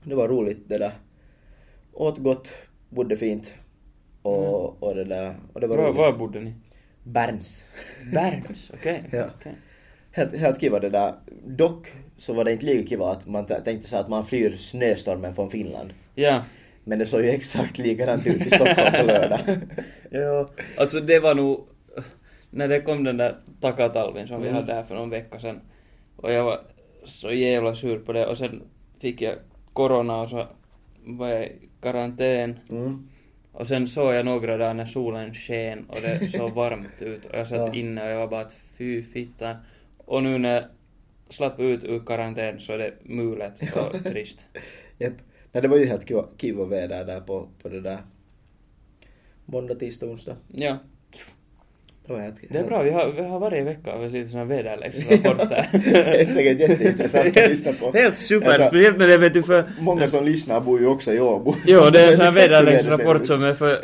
Speaker 2: Det var roligt det där. Åt gott, bodde fint. Och, och det där, och det var,
Speaker 3: Var,
Speaker 2: roligt.
Speaker 3: var bodde ni?
Speaker 2: Berns.
Speaker 3: Berns, okej.
Speaker 2: Ja.
Speaker 3: okej.
Speaker 2: Helt, helt kiva det där. Dock så var det inte lika kiva att man t- tänkte så att man flyr snöstormen från Finland.
Speaker 3: Ja.
Speaker 2: Men det såg ju exakt likadant ut i Stockholm på lördag.
Speaker 3: Ja, alltså det var nog... När det kom den där takatalvin som vi
Speaker 2: Mm.
Speaker 3: hade här för någon vecka sedan och jag var så jävla sur på det och sen fick jag corona och så var jag i karantän
Speaker 2: Mm.
Speaker 3: och sen såg jag några dagar när solen sken och det såg varmt ut och jag satt
Speaker 2: Ja.
Speaker 3: inne och jag var bara att fy fittan. Och nu när jag slapp ut ur karantän så är det mulet och trist.
Speaker 2: Japp. Nej, det var ju helt kiva, kiva väder där på, på det där. Måndag, tisdag, onsdag.
Speaker 3: Ja,
Speaker 2: Det var helt
Speaker 3: det är bra. Vi har, vi har varje vecka lite såna väderleksrapporter.
Speaker 2: det är säkert jätteintressant att lyssna på.
Speaker 3: Helt super,
Speaker 2: Alltså,
Speaker 3: speciellt när det vet du för...
Speaker 4: Många som lyssnar bor ju också i Åbo.
Speaker 3: Jo,
Speaker 2: Så
Speaker 3: det är en
Speaker 2: vet
Speaker 3: sån
Speaker 2: exakt hur
Speaker 3: här
Speaker 2: väder ser
Speaker 3: väderleksrapport
Speaker 2: ut.
Speaker 3: som är för,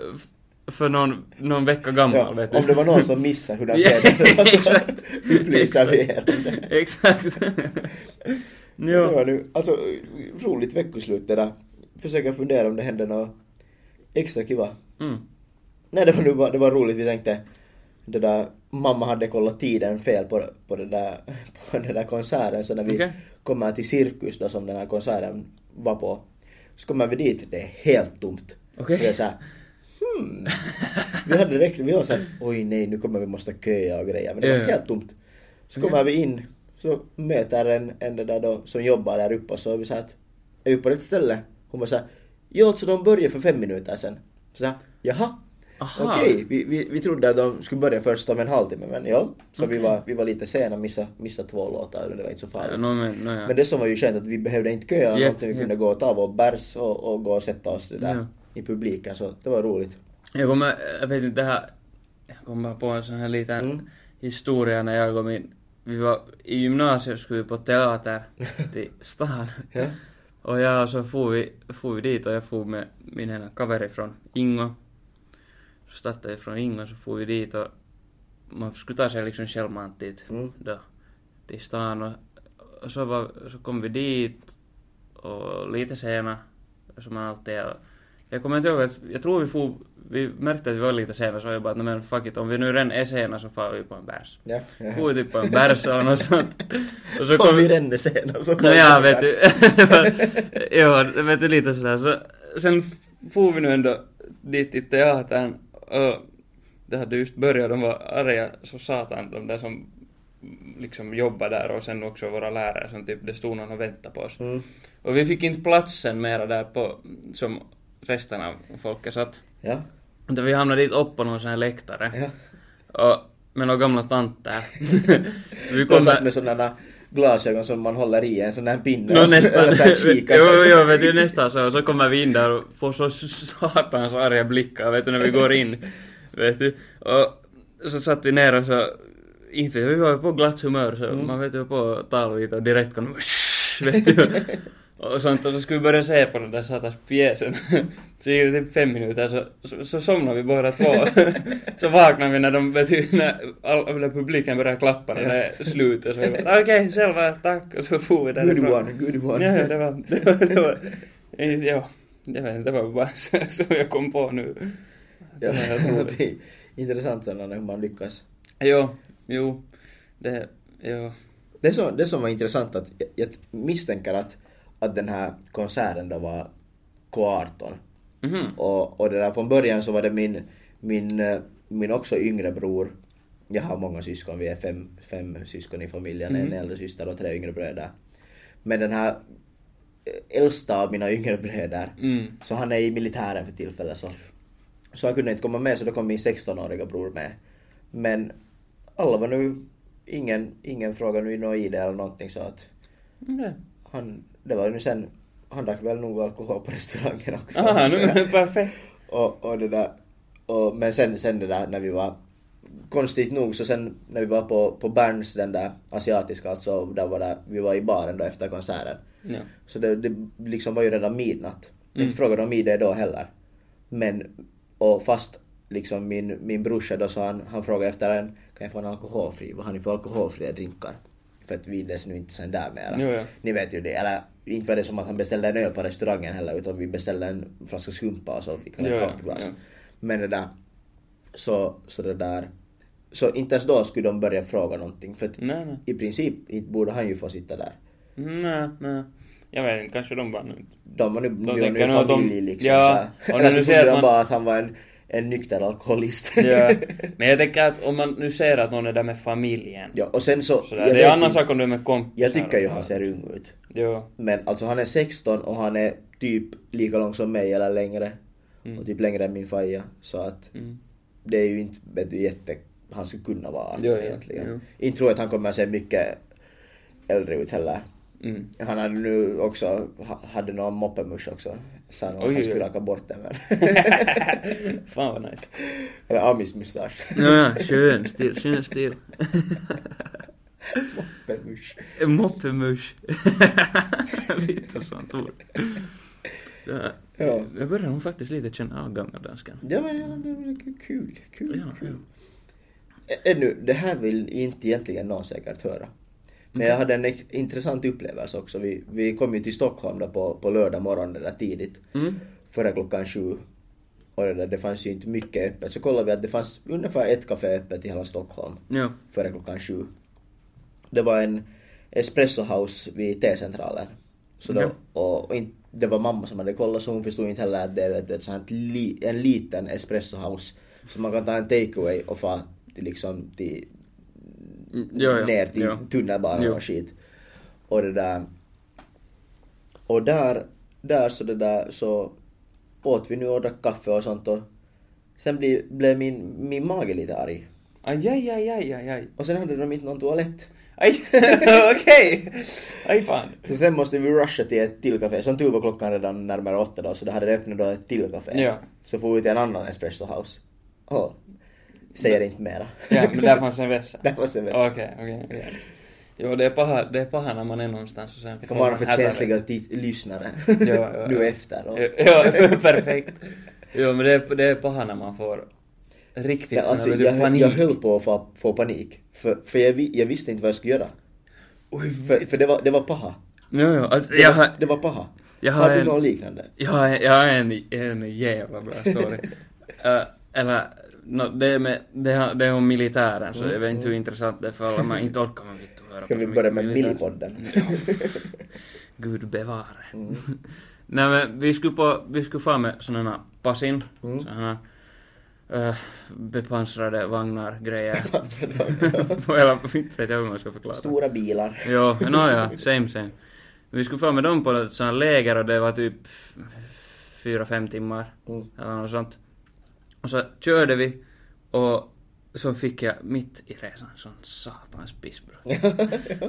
Speaker 3: för någon, någon vecka gammal,
Speaker 2: Ja,
Speaker 3: vet du.
Speaker 2: om det var någon som missade hur den
Speaker 3: Ja,
Speaker 2: blev
Speaker 3: exakt.
Speaker 2: så upplyser vi er.
Speaker 3: Exakt.
Speaker 2: Det var
Speaker 3: jo.
Speaker 2: nu, alltså roligt veckoslut det där. Försöka fundera om det hände något extra kiva.
Speaker 3: Mm.
Speaker 2: Nej det var nu bara, det var roligt vi tänkte det där, mamma hade kollat tiden fel på, på, det där, på den där konserten så när vi
Speaker 3: Okej.
Speaker 2: kommer till Cirkus då som den här konserten var på så kommer vi dit, det är helt tomt.
Speaker 3: Okej.
Speaker 2: Vi är såhär, hmm. Vi hade direkt, vi var såhär, oj nej nu kommer vi måste köa och grejer men det
Speaker 3: Ja,
Speaker 2: var
Speaker 3: ja.
Speaker 2: helt tomt. Så kommer vi in, så möter en, en det där då som jobbar där uppe och så är vi såhär att, är vi på rätt ställe? Hon bara såhär, ja så de börjar för fem minuter sen. Så såhär, jaha.
Speaker 3: Aha.
Speaker 2: Okej, vi, vi, vi trodde att de skulle börja först om en halvtimme men ja. Så vi, var, vi var lite sena, missade, missade två låtar men det var inte så farligt.
Speaker 3: Ja, nå men, nå ja.
Speaker 2: Men det som var ju skönt att vi behövde inte köa
Speaker 3: Ja,
Speaker 2: någonting, vi
Speaker 3: ja.
Speaker 2: kunde gå och ta vår bärs och, och gå och sätta oss det där
Speaker 3: Ja.
Speaker 2: i publiken så det var roligt.
Speaker 3: Jag kommer, jag vet inte det här, jag kom bara på en sån här liten
Speaker 2: Mm.
Speaker 3: historia när jag och min, vi var i gymnasiet skulle vi på teater till stan.
Speaker 2: Ja.
Speaker 3: Och jag så for vi, for vi dit och jag for med min ena kaveri från Ingo. Så startade vi från Ingo så for vi dit och man skulle ta sig liksom självmant dit
Speaker 2: Mm.
Speaker 3: då till stan och, och så, var, så kom vi dit och lite sena som man alltid är. Jag kommer inte ihåg att, jag tror vi for, vi märkte att vi var lite sena så jag bara att "No men fuck it, om vi nu redan är sena så far vi på en bärs.
Speaker 2: Ja.
Speaker 3: For vi typ på en bärs eller något sånt. Och så
Speaker 2: Kom
Speaker 3: kom
Speaker 2: vi rände sen och så
Speaker 3: No ja, vet du. jo, vet du lite sådär. Så, sen for vi nu ändå dit till teatern och det hade just börjat, de var arga så satan, de där som liksom jobbar där och sen också våra lärare som typ, det stod någon och väntade på oss.
Speaker 2: Mm.
Speaker 3: Och vi fick inte platsen mera där på, som resten av folket satt.
Speaker 2: Ja.
Speaker 3: Utan vi hamnade dit upp på någon sån här läktare.
Speaker 2: ja.
Speaker 3: Och, med några gamla tanter. vi
Speaker 2: De
Speaker 3: så här-
Speaker 2: satt med sådana glasögon som man håller i en sån här pinne.
Speaker 3: No nästan.
Speaker 2: Eller så här kikar.
Speaker 3: jo, jo, vet du, nästan så. Så kommer vi in där och får så satans arga blickar, vet du, när vi går in. Vet du. Och så satt vi ner och så, inte vet jag, vi var på glatt humör så
Speaker 2: Mm.
Speaker 3: man vet ju på tal lite och direkt kom de, "Shh", vet du. Och sånt och så skulle vi börja se på den där satans pjäsen. Så gick det typ fem minuter så, så, så somnade vi båda två. Så vaknade vi när, de, vet du, när, all, när publiken började klappa när det är slut. Och så vi bara, okej, själva, tack. Och så for vi
Speaker 2: Good
Speaker 3: därifrån.
Speaker 2: one, good one.
Speaker 3: Ja, det var... Det var, det var eh, ja, jag vet inte, det var bara så, som jag kom på nu.
Speaker 2: Ja,
Speaker 3: Det var helt roligt.
Speaker 2: det är intressant sen hur man lyckas.
Speaker 3: Jo, jo, det... Jo.
Speaker 2: Det som, det som var intressant att jag, jag misstänker att, att den här konserten då var K18.
Speaker 3: Mhm.
Speaker 2: Och, och det där från början så var det min, min, eh, min också yngre bror. Jag har många syskon, vi är fem, fem syskon i familjen,
Speaker 3: Mm.
Speaker 2: en äldre syster och tre yngre bröder. Men den här eh, äldsta av mina yngre bröder,
Speaker 3: Mm.
Speaker 2: så han är i militären för tillfället så. Så han kunde inte komma med så då kom min 16-åriga bror med. Men alla var nu, ingen, ingen frågade nu något ID eller någonting så att
Speaker 3: Nej.
Speaker 2: han, det var ju nu sen, han drack väl nog alkohol på restaurangen också.
Speaker 3: Aha, nu men perfekt.
Speaker 2: och, och det där, och, men sen, sen det där när vi var, konstigt nog så sen när vi var på, på Berns, den där asiatiska alltså, där var där, vi var i baren då efter konserten.
Speaker 3: Ja.
Speaker 2: Så det, det liksom var ju redan midnatt.
Speaker 3: Mm.
Speaker 2: Inte frågade om ID då heller. Men, och fast liksom min, min brorsa då så han, han frågade efter en, kan jag få en alkoholfri? Vad har ni för alkoholfria drinkar? För att vi är nu inte sen där mera.
Speaker 3: Jo, ja.
Speaker 2: Ni vet ju det. Eller inte var det som att han beställde en öl på restaurangen heller utan vi beställde en flaska skumpa och så fick han
Speaker 3: Jo,
Speaker 2: ett
Speaker 3: ja,
Speaker 2: halvt glas.
Speaker 3: ja.
Speaker 2: Men det där, så, så det där, så inte ens då skulle de börja fråga någonting för att
Speaker 3: Nej, nej.
Speaker 2: i princip inte borde han ju få sitta där.
Speaker 3: Nej, nej. Jag vet inte, kanske de bara nu.
Speaker 2: de var nu, de var
Speaker 3: tänker
Speaker 2: nu
Speaker 3: nog att de-
Speaker 2: familj liksom.
Speaker 3: Ja,
Speaker 2: så här.
Speaker 3: och
Speaker 2: Eller
Speaker 3: när
Speaker 2: så
Speaker 3: du
Speaker 2: trodde
Speaker 3: ser att
Speaker 2: de
Speaker 3: man-
Speaker 2: bara att han var en, en nykter alkoholist.
Speaker 3: Ja. Men jag tänker att om man nu ser att någon är där med familjen.
Speaker 2: ja, och sen så...
Speaker 3: Sådär.
Speaker 2: jag
Speaker 3: Det är
Speaker 2: vet
Speaker 3: en annan
Speaker 2: inte.
Speaker 3: sak om du är med kompisar.
Speaker 2: Jag tycker ju han ser ung ut.
Speaker 3: Jo.
Speaker 2: Men alltså han är 16 och han är typ lika lång som mig eller längre. Och typ längre än min faja. Så att
Speaker 3: Mm.
Speaker 2: det är ju inte vet du, jätte... Han skulle kunna vara 18
Speaker 3: Jo, ja,
Speaker 2: egentligen.
Speaker 3: jo.
Speaker 2: Inte tror jag att han kommer att se mycket äldre ut heller.
Speaker 3: Mm.
Speaker 2: Han hade nu också, ha- hade någon moppemusch också. Sa nog
Speaker 3: Oj,
Speaker 2: att han
Speaker 3: oj,
Speaker 2: skulle
Speaker 3: oj.
Speaker 2: raka bort den men.
Speaker 3: Fan vad nice.
Speaker 2: Eller amismustasch.
Speaker 3: Ja, skön stil, skön stil.
Speaker 2: Moppemusch.
Speaker 3: Moppemusch. Vittu sånt ord. Ja.
Speaker 2: Ja.
Speaker 3: Jag börjar nog faktiskt lite känna av gammaldanskan.
Speaker 2: Ja men ja, det var kul, kul, kul.
Speaker 3: Ja, ja.
Speaker 2: Ä- Ännu, det här vill inte egentligen någon säkert höra.
Speaker 3: Mm.
Speaker 2: Men jag hade en ex- intressant upplevelse också. Vi, vi kom ju till Stockholm då på, på lördag morgon det där tidigt.
Speaker 3: Mm.
Speaker 2: Före klockan sju. Och det, där, det fanns ju inte mycket öppet. Så kollade vi att det fanns ungefär ett café öppet i hela Stockholm.
Speaker 3: Ja.
Speaker 2: Före klockan sju. Det var en espresso house vid T-centralen. Så då,
Speaker 3: Ja.
Speaker 2: och, och in, det var mamma som hade kollat så hon förstod inte heller att det är vet du, ett sånt li, en liten espresso house. Så man kan ta en takeaway och få till, liksom till,
Speaker 3: Mm, ja, ja,
Speaker 2: ner till
Speaker 3: ja.
Speaker 2: tunnelbanan
Speaker 3: Jo.
Speaker 2: typ och skit. Och det där. Och där, där så det där så åt vi nu och drack kaffe och sånt och sen bli, blev min, min mage lite arg.
Speaker 3: Aj, aj, aj, aj, aj, aj.
Speaker 2: Och sen hade de inte någon toalett.
Speaker 3: Aj, okej. Aj fan.
Speaker 2: Så sen måste vi rusha till ett till café. Som tur var klockan redan närmare åtta då, så då hade det öppnat då ett till café.
Speaker 3: Ja.
Speaker 2: Så får vi till en annan espresso house. Åh, säger inte mera.
Speaker 3: Ja, men där fanns en vässa.
Speaker 2: Där fanns en vässa.
Speaker 3: Okej, okej, okej. Jo, det är paha, det är paha när man är någonstans och sen
Speaker 2: Det kan vara för
Speaker 3: hävda det.
Speaker 2: känsliga tit- lyssnare.
Speaker 3: Jo, jo, jo.
Speaker 2: nu efteråt.
Speaker 3: Jo, jo, perfekt. Jo, men det är, det är paha när man får riktigt
Speaker 2: Ja,
Speaker 3: sån här,
Speaker 2: alltså,
Speaker 3: vet du,
Speaker 2: jag,
Speaker 3: panik.
Speaker 2: jag höll på att få, få panik. För, för jag, vi- jag visste inte vad jag skulle göra.
Speaker 3: Oj,
Speaker 2: För, för det, var, det var paha.
Speaker 3: Jo, jo, alltså,
Speaker 2: Det,
Speaker 3: jag
Speaker 2: var,
Speaker 3: har...
Speaker 2: det var paha.
Speaker 3: jag har
Speaker 2: har du
Speaker 3: en-
Speaker 2: något liknande?
Speaker 3: Jag har, jag har en, en jävla bra story. Eh, eller, nå, det, är med, det, har- det är om militären, så jag vet inte hur intressant det är för alla. Man inte orkar man vitt höra
Speaker 2: Mm. Ska
Speaker 3: på
Speaker 2: vi
Speaker 3: så
Speaker 2: börja
Speaker 3: mycket
Speaker 2: med
Speaker 3: militär.
Speaker 2: millipodden?
Speaker 3: Ja. Gud bevare.
Speaker 2: Mm.
Speaker 3: Nej men vi skulle, på, vi skulle få med sådana passin, mm. sådana eh, bepansrade vagnar, grejer.
Speaker 2: Bepansrade vagnar.
Speaker 3: Eller inte vet jag hur man ska förklara.
Speaker 2: Stora bilar.
Speaker 3: Jo, no, ja, same same. Vi skulle få med dem på ett sånt här läger och det var typ f- fyra, fem timmar
Speaker 2: Mm.
Speaker 3: eller något sånt. Och så körde vi och så fick jag mitt i resan sån satans pissbrott.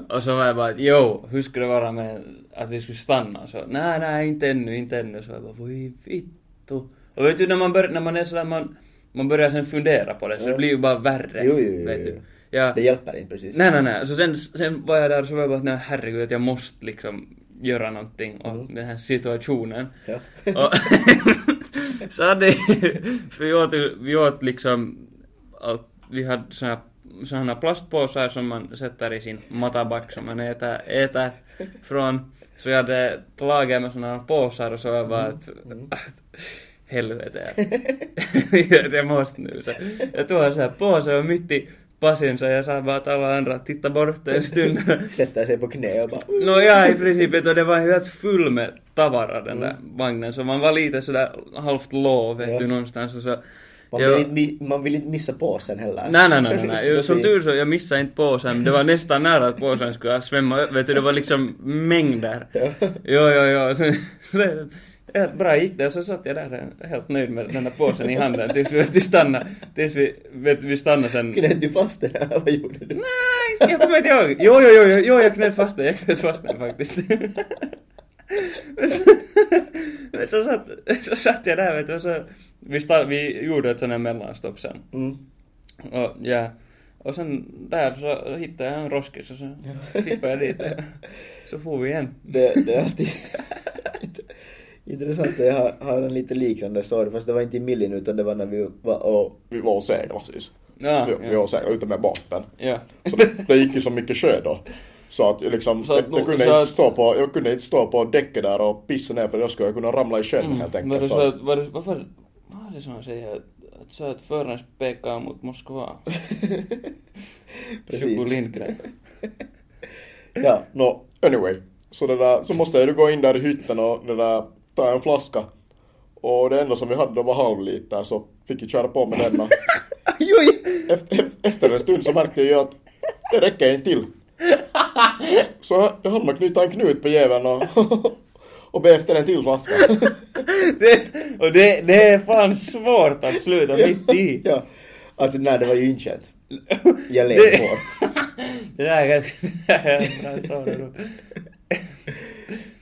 Speaker 3: och så var jag bara att jo, hur skulle det vara med att vi skulle stanna? Så nej, nej, inte ännu, inte ännu. Så jag bara voi vittu. Och vet du när man, bör, när man är sådär man, man börjar sen fundera på det så det blir ju bara värre.
Speaker 2: Jo, jo, jo,
Speaker 3: vet
Speaker 2: jo.
Speaker 3: du. Ja,
Speaker 2: Det hjälper inte precis.
Speaker 3: Nej, nej, nej. Så sen, sen var jag där och så var jag bara att nej, herregud, att jag måste liksom göra någonting åt den här situationen.
Speaker 2: Ja.
Speaker 3: Och, så hade för vi åt, vi åt liksom, allt- vi hade såna, såna plastpåsar som man sätter i sin matabak som man äter, äter från. Så jag hade lagat med såna påsar och så var jag bara att, att helvete. att jag måste nu. Så jag tog en sån här påse och mitt i passen så jag sa bara att alla andra titta bort en stund.
Speaker 2: Sätter sig på knä och bara...
Speaker 3: No ja, i princip. Vet du, det var helt full med tavara den där vagnen. Så man var lite sådär halvt låg vet
Speaker 2: Ja.
Speaker 3: du någonstans. Och så,
Speaker 2: Man
Speaker 3: Ja.
Speaker 2: vill, inte, mi- man vill inte missa påsen heller.
Speaker 3: Nej, nej, nej, nej, nej.
Speaker 2: Då
Speaker 3: Jo, Som
Speaker 2: blir-
Speaker 3: tur så, jag missade inte påsen. men Det var nästan nära att påsen skulle svämma upp. Vet du, det var liksom mängder.
Speaker 2: Ja.
Speaker 3: Jo, jo, jo. Så, så, Helt bra gick det och så satt jag där helt nöjd med den där påsen i handen tills vi, vi stannade. Tills vi, vet, vi stannade sen.
Speaker 2: Knöt du fast det här? Vad gjorde du?
Speaker 3: Nej, inte- jag kommer inte ihåg. Jo, jo, jo, jo, jo jag knöt fast den. Jag knöt fast den faktiskt. Men så, men så, satt, så satt jag där vet du, och så, vi, sta, vi gjorde ett sånt här mellanstopp sen.
Speaker 2: Mm.
Speaker 3: Och, ja. och sen där så hittade jag en roskis och så fippade jag dit. Så får vi igen.
Speaker 2: Det, det är alltid intressant. Jag har, har en lite liknande story, fast det var inte i Millin utan det var när vi var och...
Speaker 4: Vi var och seglade siis.
Speaker 3: Ja,
Speaker 4: vi, vi
Speaker 3: ja.
Speaker 4: var och seglade ute med båten.
Speaker 3: Ja.
Speaker 4: Så det, det gick ju så mycket sjö då. Så att liksom,
Speaker 3: Så att-
Speaker 4: jag, jag, kunde
Speaker 3: så
Speaker 4: inte
Speaker 3: att-
Speaker 4: stå på, jag kunde inte stå på däcket där och pissa ner för då skulle jag kunna ramla i sjön helt
Speaker 3: Mm. Var
Speaker 4: enkelt.
Speaker 3: det
Speaker 4: Så
Speaker 3: så
Speaker 4: att,
Speaker 3: att, var det, varför, vad är det som han säger? Att- Att så att förarens pekar mot Moskva.
Speaker 2: Precis.
Speaker 3: Tjugo Lindgren.
Speaker 2: Ja,
Speaker 4: no, anyway. Så, det där, så måste jag ju gå in där i hytten och det där, ta en flaska. Och det enda som vi hade då var halvliter så fick jag köra på med denna.
Speaker 2: Joj!
Speaker 4: efter, efter en stund så märkte jag ju att det räcker inte till. Så jag, jag hann med att knyta en knut på jäveln och, och be efter en till flaska.
Speaker 3: det, och det, det är fan svårt att sluta mitt i.
Speaker 2: Ja. Alltså nej, det var ju inte känt. Jag led
Speaker 3: Det-
Speaker 2: hårt.
Speaker 3: Det där är ganska... det där är en bra historia då.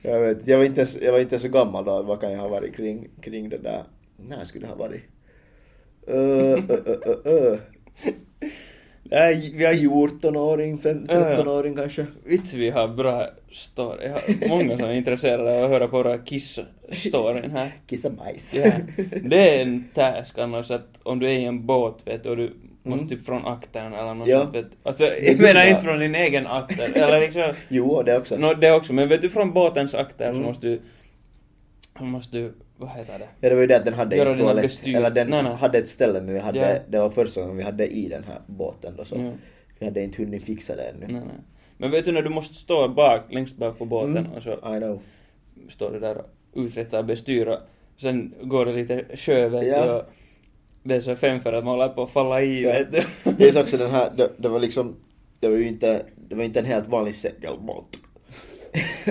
Speaker 2: Jag, vet, jag, var inte, ens- jag var inte ens så gammal då, vad kan jag ha varit kring, kring det där? När skulle det ha varit? Eh, Ö, ö, ö, ö, ö. Nej, vi har 14-åring, fem-
Speaker 3: Ja, ja.
Speaker 2: 13-åring kanske.
Speaker 3: Vits, vi har bra story. Jag har många som är intresserade av att höra på våra kiss-storyn här.
Speaker 2: Kissa bajs.
Speaker 3: Ja. Det är en task annars att om du är i en båt vet du, och du måste typ från aktern eller något
Speaker 2: Mm. Ja.
Speaker 3: sånt vet du. Alltså
Speaker 2: Det är
Speaker 3: jag menar
Speaker 2: bra.
Speaker 3: inte från din egen akter eller liksom.
Speaker 2: Jo, det också.
Speaker 3: Nå det också, men vet du från båtens akter så
Speaker 2: Mm.
Speaker 3: måste du, måste du, vad heter det?
Speaker 2: Ja, det var ju det att den hade
Speaker 3: Göra
Speaker 2: en
Speaker 3: dina
Speaker 2: toalett.
Speaker 3: bestyr.
Speaker 2: Eller den
Speaker 3: Nej, nej.
Speaker 2: hade ett ställe men vi hade,
Speaker 3: Ja.
Speaker 2: det var första gången vi hade i den här båten då så.
Speaker 3: Ja.
Speaker 2: Vi hade inte hunnit fixa det ännu.
Speaker 3: Nej, nej. Men vet du när du måste stå bak, längst bak på båten
Speaker 2: Mm.
Speaker 3: och så
Speaker 2: I know.
Speaker 3: står du där och uträttar bestyr och sen går det lite sjö vet
Speaker 2: Ja.
Speaker 3: du och det är så fem för att man håller på att falla i
Speaker 2: Ja.
Speaker 3: vet du.
Speaker 2: Det är så också den här, det, det var liksom, det var ju inte, det var inte en helt vanlig segelbåt.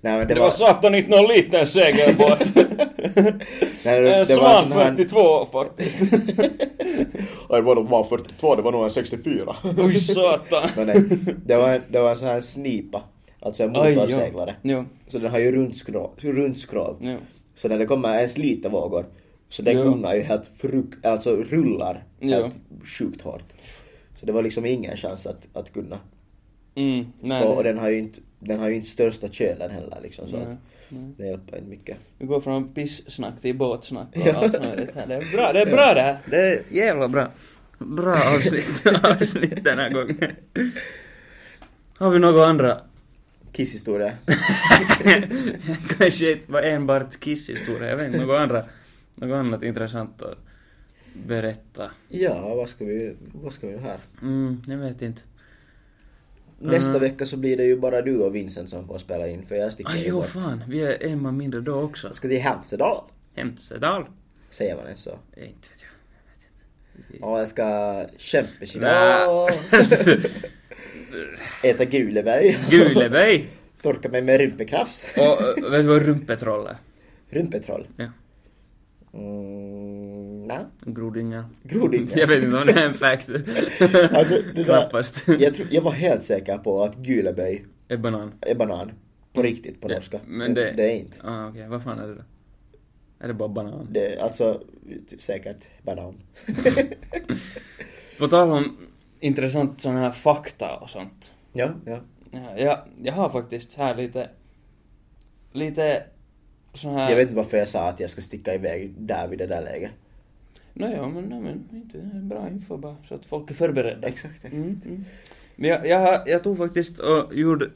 Speaker 2: nej men
Speaker 3: Det var satan inte någon liten segelbåt.
Speaker 2: nej, det,
Speaker 3: En
Speaker 2: det var en
Speaker 3: eh, Svan
Speaker 2: sån här,
Speaker 3: 42 faktiskt.
Speaker 4: Och jag var nog bara 42, det var nog en 64.
Speaker 3: Oj satan.
Speaker 2: nej, nej, det var, en- det var en sån här snipa. Alltså en
Speaker 3: Aj, ja.
Speaker 2: motorseglare.
Speaker 3: Jo,
Speaker 2: Så den har ju rundskrov, rundskrov.
Speaker 3: jo.
Speaker 2: Så när det kommer ens lite vågor så den
Speaker 3: Ja.
Speaker 2: gungar ju helt fruk- alltså rullar
Speaker 3: Ja.
Speaker 2: helt sjukt hårt. Så det var liksom ingen chans att, att kunna.
Speaker 3: Mm, nej.
Speaker 2: och, och
Speaker 3: det-
Speaker 2: den har ju inte, den har ju inte största kölen heller liksom så
Speaker 3: nej,
Speaker 2: att
Speaker 3: nej.
Speaker 2: det hjälper inte mycket.
Speaker 3: Vi går från pissnack till båtsnack och
Speaker 2: Ja.
Speaker 3: allt möjligt här. Det är bra, det är bra det här. Det är jävla bra. Bra avsnitt, avsnitt den här gången. Har vi några andra?
Speaker 2: Kisshistoria.
Speaker 3: Kanske inte var enbart kisshistoria, jag vet inte. Några andra, något annat intressant att berätta.
Speaker 2: ja, vad ska vi, vad ska vi göra här?
Speaker 3: Mm, jag vet inte.
Speaker 2: Nästa
Speaker 3: Mm.
Speaker 2: vecka så blir det ju bara du och Vincent som får spela in för jag sticker
Speaker 3: Ah,
Speaker 2: ju
Speaker 3: jo,
Speaker 2: bort.
Speaker 3: fan. Vi är en man mindre då också.
Speaker 2: Jag ska till Hemsedal,
Speaker 3: Hemsedal?
Speaker 2: säger man ens så.
Speaker 3: Eh, Inte vet jag.
Speaker 2: Och jag ska kämpa i
Speaker 3: Nä.
Speaker 2: dag. Äta Guleberg.
Speaker 3: Guleberg!
Speaker 2: Torka mig med rumpekrafs.
Speaker 3: Och eh, vet du vad rumpetroll är?
Speaker 2: Rumpetroll?
Speaker 3: Ja.
Speaker 2: Mm, nej.
Speaker 3: En grodinge.
Speaker 2: Grodinge.
Speaker 3: Jag vet inte om det är en fact.
Speaker 2: Alltså, det där-
Speaker 3: Knappast.
Speaker 2: Jag, tror, jag var helt säker på att Guleböj
Speaker 3: Är banan.
Speaker 2: är banan. På riktigt, på norska.
Speaker 3: Ja, Men det...
Speaker 2: det är inte.
Speaker 3: Ah, okej. Vad fan är det då? Är det bara banan?
Speaker 2: Det är alltså t- säkert banan.
Speaker 3: På tal om intressant sån här fakta och sånt.
Speaker 2: ja, ja.
Speaker 3: Ja, jag, jag har faktiskt här lite... Lite... Sån här...
Speaker 2: Jag vet inte varför jag sa att jag ska sticka iväg där vid det där läget.
Speaker 3: Nej, ja, men, nej, men inte bra info bara, så att folk är förberedda.
Speaker 2: Exakt, exakt.
Speaker 3: Mm, mm. Men jag, jag, har- jag tog faktiskt och gjorde,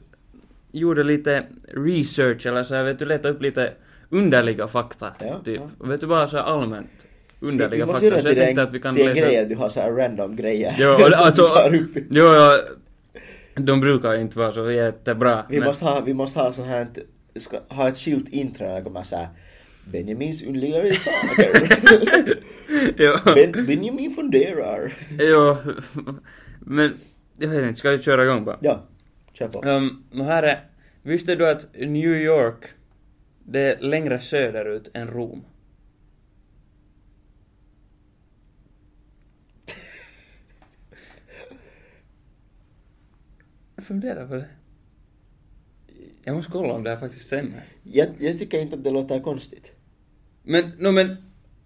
Speaker 3: gjorde lite research, eller så här, vet du, letade upp lite underliga fakta,
Speaker 2: Ja,
Speaker 3: typ. Vet du, bara så här allmänt
Speaker 2: Vi- vi
Speaker 3: underliga
Speaker 2: måste
Speaker 3: fakta.
Speaker 2: göra
Speaker 3: Så jag
Speaker 2: till
Speaker 3: tänkte
Speaker 2: en-
Speaker 3: att vi kan
Speaker 2: till en grej
Speaker 3: läsa...
Speaker 2: att du har så här random grejer.
Speaker 3: Jo, och,
Speaker 2: som
Speaker 3: alltså,
Speaker 2: du tar upp. i-
Speaker 3: jo, ja, de brukar ju inte vara så jättebra.
Speaker 2: Vi, måste ha, vi måste ha sån här, ett- ska, ha ett skilt intro när det kommer såhär Benjamins underligare saker.
Speaker 3: jo,
Speaker 2: ben, Benjamin funderar.
Speaker 3: jo, men jag vet inte, ska vi köra igång bara? Ehm,
Speaker 2: Ja, kör på.
Speaker 3: Um, no här är, visste du att New York Det är längre söderut än Rom. Jag funderar på det. Jag måste kolla om det här faktiskt stämmer.
Speaker 2: Jag, jag tycker inte att det låter konstigt.
Speaker 3: Men, no, men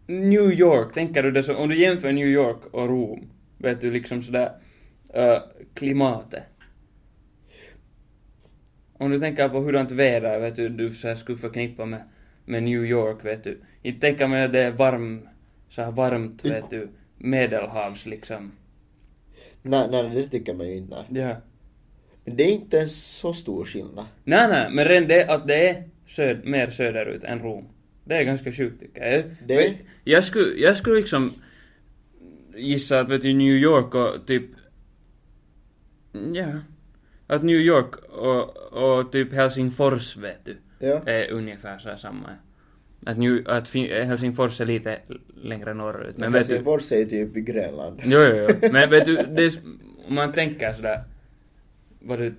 Speaker 3: New York, tänker du det så, om du jämför New York och Rom, vet du liksom sådär, eh, klimatet. Om du tänker på hurdant väder, vet du, du så här skulle förknippa med, med New York, vet du. Inte tänka mig att det är varm, så här varmt, vet du, medelhavs liksom.
Speaker 2: Nej, nej, det tycker man ju inte. nej.
Speaker 3: Ja.
Speaker 2: Men det är inte så stor skillnad.
Speaker 3: Nej, nej, men redan det att det är söd, mer söderut än Rom. Det är ganska sjukt tycker jag.
Speaker 2: Det-
Speaker 3: För Jag skulle, jag skulle liksom gissa att vet du, New York och typ... Ja. Att New York och, och typ Helsingfors vet du,
Speaker 2: Ja.
Speaker 3: är ungefär så här samma. Att, New, att fin, Helsingfors är lite längre norrut. Men vet du...
Speaker 2: Helsingfors är ju typ i Grönland.
Speaker 3: Jo, jo, jo. Men vet du, det är, s- om man tänker sådär, vad du,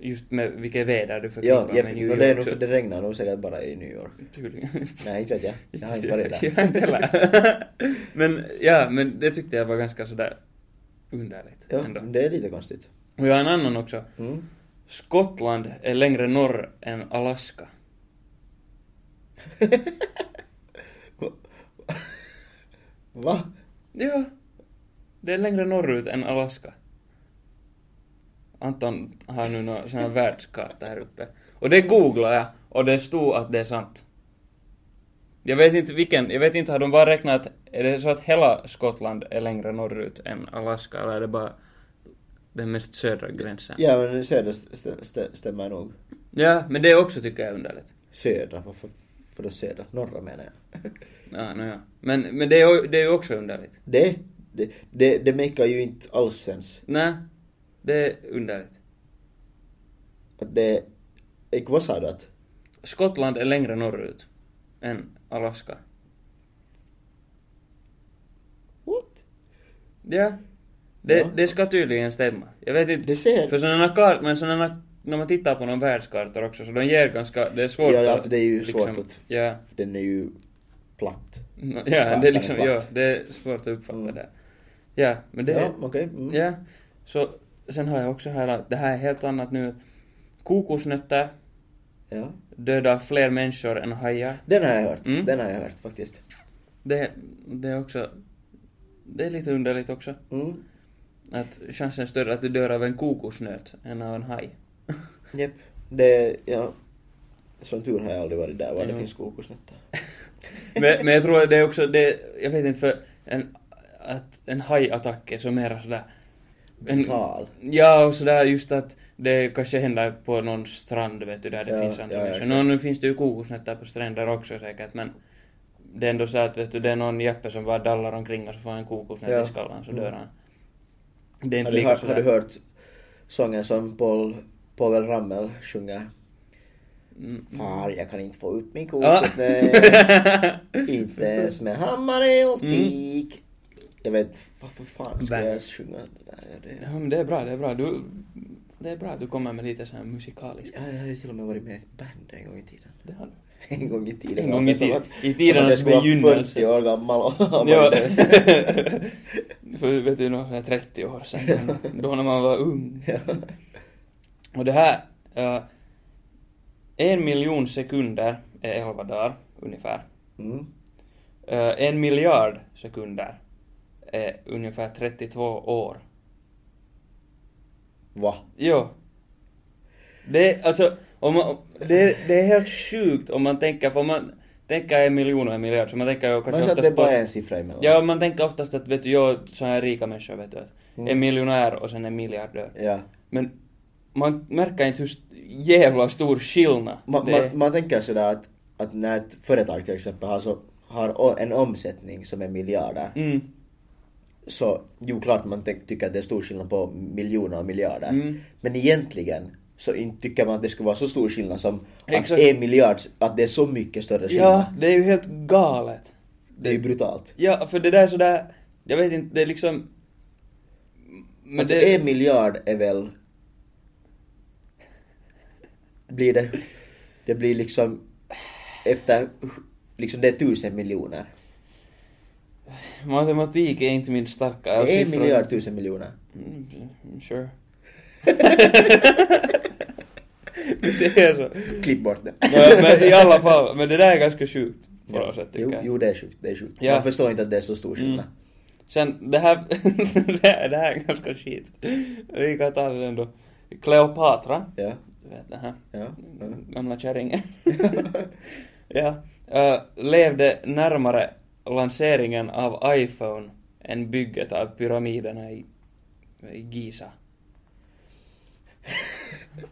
Speaker 3: just med vilket väder du
Speaker 2: Ja,
Speaker 3: förknippar
Speaker 2: ja
Speaker 3: med New
Speaker 2: och
Speaker 3: York.
Speaker 2: det är nog
Speaker 3: så-
Speaker 2: för det regnar nog säkert bara i New York.
Speaker 3: Tydligen.
Speaker 2: Nej, inte vet jag. Jag har inte varit där.
Speaker 3: Jag har inte heller. men, ja, men det tyckte jag var ganska sådär underligt
Speaker 2: Ja,
Speaker 3: ändå.
Speaker 2: men det är lite konstigt.
Speaker 3: Och jag har en annan också.
Speaker 2: Mm.
Speaker 3: Skottland är längre norr än Alaska.
Speaker 2: Va?
Speaker 3: Ja. Det är längre norrut än Alaska. Anton har nu någon sån här världskarta här uppe. Och det googlade jag och det stod att det är sant. Jag vet inte vilken, jag vet inte har de bara räknat, är det så att hela Skottland är längre norrut än Alaska eller är det bara den mest södra gränsen?
Speaker 2: Ja, men södra st- st- st- stämmer nog.
Speaker 3: Ja, men det också tycker jag är underligt.
Speaker 2: Södra, varför? För då södra? Norra menar jag.
Speaker 3: Ja, no, ja. Men, men det är ju det är ju också underligt.
Speaker 2: Det, det, det, det makar ju inte alls sens.
Speaker 3: Nej, det är underligt.
Speaker 2: Att det är... Vad sa du att?
Speaker 3: Skottland är längre norrut än Alaska.
Speaker 2: What?
Speaker 3: Ja. Det,
Speaker 2: Ja.
Speaker 3: det ska tydligen stämma. Jag vet inte.
Speaker 2: Det ser-
Speaker 3: För sådana kart, men sådana, när man tittar på någon världskartor också, så de ger ganska, det är svårt liksom-
Speaker 2: Ja, alltså det är ju svårt att-
Speaker 3: Ja,
Speaker 2: Den är ju platt.
Speaker 3: ja,
Speaker 2: Ja,
Speaker 3: det
Speaker 2: det
Speaker 3: är
Speaker 2: är
Speaker 3: liksom,
Speaker 2: platt.
Speaker 3: ja, det är svårt att uppfatta
Speaker 2: Mm.
Speaker 3: det. Ja, men det...
Speaker 2: Ja, okej. Mm.
Speaker 3: Ja. Så, sen har jag också här att det här är helt annat nu. Kokosnötter
Speaker 2: ja.
Speaker 3: dödar fler människor än hajar.
Speaker 2: Den har jag hört.
Speaker 3: Mm.
Speaker 2: Den har jag hört faktiskt.
Speaker 3: Det, det är också... Det är lite underligt också.
Speaker 2: Mm.
Speaker 3: Att chansen är större att du dör av en kokosnöt än av en haj.
Speaker 2: Japp. Det, ja. Som tur har jag aldrig varit där, var det
Speaker 3: Jo.
Speaker 2: finns kokosnötter.
Speaker 3: men, men jag tror att det är också det, jag vet inte för en, att en hajattack är så mera sådär...
Speaker 2: Brutal.
Speaker 3: Ja, och sådär just att det kanske händer på någon strand vet du, där det
Speaker 2: Ja,
Speaker 3: finns andra
Speaker 2: ja,
Speaker 3: människor.
Speaker 2: exakt.
Speaker 3: Nå, nu finns det ju kokosnötter på stränder också säkert men det är ändå så att vet du, det är någon jeppe som bara dallar omkring och så får han en kokosnöt
Speaker 2: Ja.
Speaker 3: i skallen så
Speaker 2: Mm.
Speaker 3: dör han. Det är inte
Speaker 2: Har du,
Speaker 3: lika
Speaker 2: hört, har
Speaker 3: sådär...
Speaker 2: du hört sången som Paul, Pavel Ramel sjunger?
Speaker 3: Mm.
Speaker 2: Far, jag kan inte få upp min kokosnöt. inte ens med hammare och
Speaker 3: Mm.
Speaker 2: spik. Jag vet, varför fan ska
Speaker 3: Bang.
Speaker 2: jag sjunga det där? Ja,
Speaker 3: Ja
Speaker 2: det,
Speaker 3: men det är bra, det är bra. Du, det är bra att du kommer med lite så här musikaliskt.
Speaker 2: jag, jag har ju till och med varit med i ett band en gång i tiden.
Speaker 3: Det har du.
Speaker 2: En gång i tiden.
Speaker 3: En
Speaker 2: var
Speaker 3: gång
Speaker 2: det
Speaker 3: i
Speaker 2: som
Speaker 3: tiden.
Speaker 2: att-
Speaker 3: I tiden
Speaker 2: som att
Speaker 3: att
Speaker 2: jag skulle
Speaker 3: vi
Speaker 2: vara
Speaker 3: gynnades.
Speaker 2: 40 år gammal och ha varit
Speaker 3: Ja.
Speaker 2: där.
Speaker 3: För vet du, någon sån här 30 år sedan, då när man var ung. Och det här, eh, en miljon sekunder är elva dagar ungefär.
Speaker 2: Mm.
Speaker 3: Eh, en miljard sekunder är ungefär 32 år.
Speaker 2: Va?
Speaker 3: Jo. Det är alltså, om man, det, är- det är helt sjukt om man tänker, för om man tänker en miljon och en miljard så man tänker ju
Speaker 2: Man
Speaker 3: kanske
Speaker 2: sa att det
Speaker 3: oftast på...
Speaker 2: bara är en siffra emellan.
Speaker 3: Ja, man tänker oftast att vet du, jag sådana här rika människor vet du, att
Speaker 2: Mm.
Speaker 3: en miljonär och sen en miljardör.
Speaker 2: ja.
Speaker 3: Men man märker inte hur st- jävla stor skillnad
Speaker 2: Man,
Speaker 3: det är.
Speaker 2: man, man tänker sådär att, att när ett företag till exempel har, så, har o- en omsättning som är miljarder
Speaker 3: Mm.
Speaker 2: så jo klart man tänk, tycker att det är stor skillnad på miljoner och miljarder.
Speaker 3: Mm.
Speaker 2: Men egentligen så inte tycker man att det skulle vara så stor skillnad som
Speaker 3: Exakt.
Speaker 2: att en miljard, att det är så mycket större skillnad.
Speaker 3: Ja, det är ju helt galet.
Speaker 2: Det är ju brutalt.
Speaker 3: Ja, för det där är sådär, jag vet inte, det är liksom... Men
Speaker 2: alltså
Speaker 3: det,
Speaker 2: en miljard är väl... Blir det... Det blir liksom efter, liksom det är tusen miljoner.
Speaker 3: Matematik är inte min starka jag har
Speaker 2: en
Speaker 3: siffror-
Speaker 2: miljard tusen miljoner.
Speaker 3: Mm, mm, Sure. Vi säger så.
Speaker 2: Klipp bort det.
Speaker 3: Men, men i alla fall, men det där är ganska sjukt på
Speaker 2: Ja.
Speaker 3: något sätt tycker
Speaker 2: jo,
Speaker 3: jag.
Speaker 2: jo, det är sjukt. Det är sjukt.
Speaker 3: Ja. Mm.
Speaker 2: Man förstår inte att det är så stor skillnad.
Speaker 3: Sen det här, det här, det här är ganska skit. Vi kan ta det ändå. Kleopatra.
Speaker 2: Ja.
Speaker 3: Du vet den här
Speaker 2: Ja. ja.
Speaker 3: gamla kärringen. ja. eh, levde närmare lanseringen av iPhone än bygget av pyramiderna i, i Giza.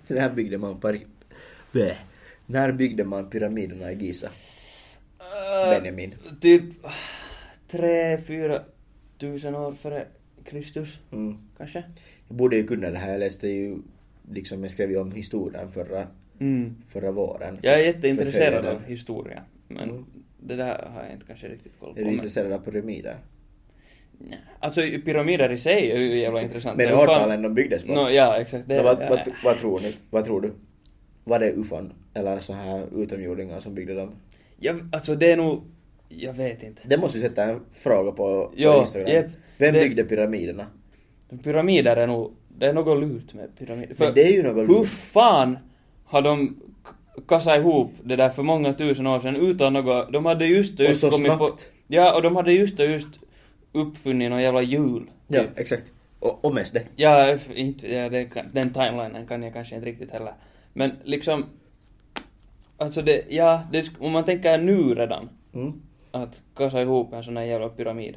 Speaker 2: När byggde man Paris? Bäh. När byggde man pyramiderna i Giza?
Speaker 3: Eh,
Speaker 2: Benjamin.
Speaker 3: Typ tre, fyra tusen år före Kristus,
Speaker 2: Mm.
Speaker 3: kanske?
Speaker 2: Jag borde ju kunna det här. Jag läste ju, liksom jag skrev ju om historien förra,
Speaker 3: Mm.
Speaker 2: förra våren.
Speaker 3: Jag är
Speaker 2: För
Speaker 3: jätteintresserad
Speaker 2: höjden.
Speaker 3: av historia, men
Speaker 2: Mm.
Speaker 3: det där har jag inte kanske riktigt koll på.
Speaker 2: Är du
Speaker 3: men-
Speaker 2: intresserad av pyramider?
Speaker 3: Nja, Alltså pyramider i sig är ju jävla intressant.
Speaker 2: Men
Speaker 3: Det är fan-
Speaker 2: årtalen de byggdes på?
Speaker 3: Nå, ja, exakt. Det,
Speaker 2: No, vad,
Speaker 3: ja,
Speaker 2: vad, vad tror ni? Vad tror du? Var det ufon? Eller så här utomjordingar som byggde dem?
Speaker 3: jag, alltså det är nog... Jag vet inte.
Speaker 2: Det måste vi sätta en fråga på, på
Speaker 3: Ja,
Speaker 2: Instagram.
Speaker 3: jep.
Speaker 2: Vem
Speaker 3: Det-
Speaker 2: byggde pyramiderna?
Speaker 3: Pyramider är nog... Det är något lurt med pyramider.
Speaker 2: Men det är ju något
Speaker 3: Hur
Speaker 2: lurt.
Speaker 3: fan har de k- kassat ihop det där för många tusen år sedan utan något... De hade just och
Speaker 2: Och
Speaker 3: just
Speaker 2: så
Speaker 3: kommit på...
Speaker 2: snabbt.
Speaker 3: Ja, och de hade just och just uppfunnit någon jävla hjul.
Speaker 2: Ja, exakt. Och, och mest det.
Speaker 3: Ja, f- inte, ja det kan, den timelinen kan jag kanske inte riktigt heller. Men liksom... Alltså det, ja, det, sk- om man tänker nu redan
Speaker 2: Mm.
Speaker 3: att kassa ihop en sån här jävla pyramid.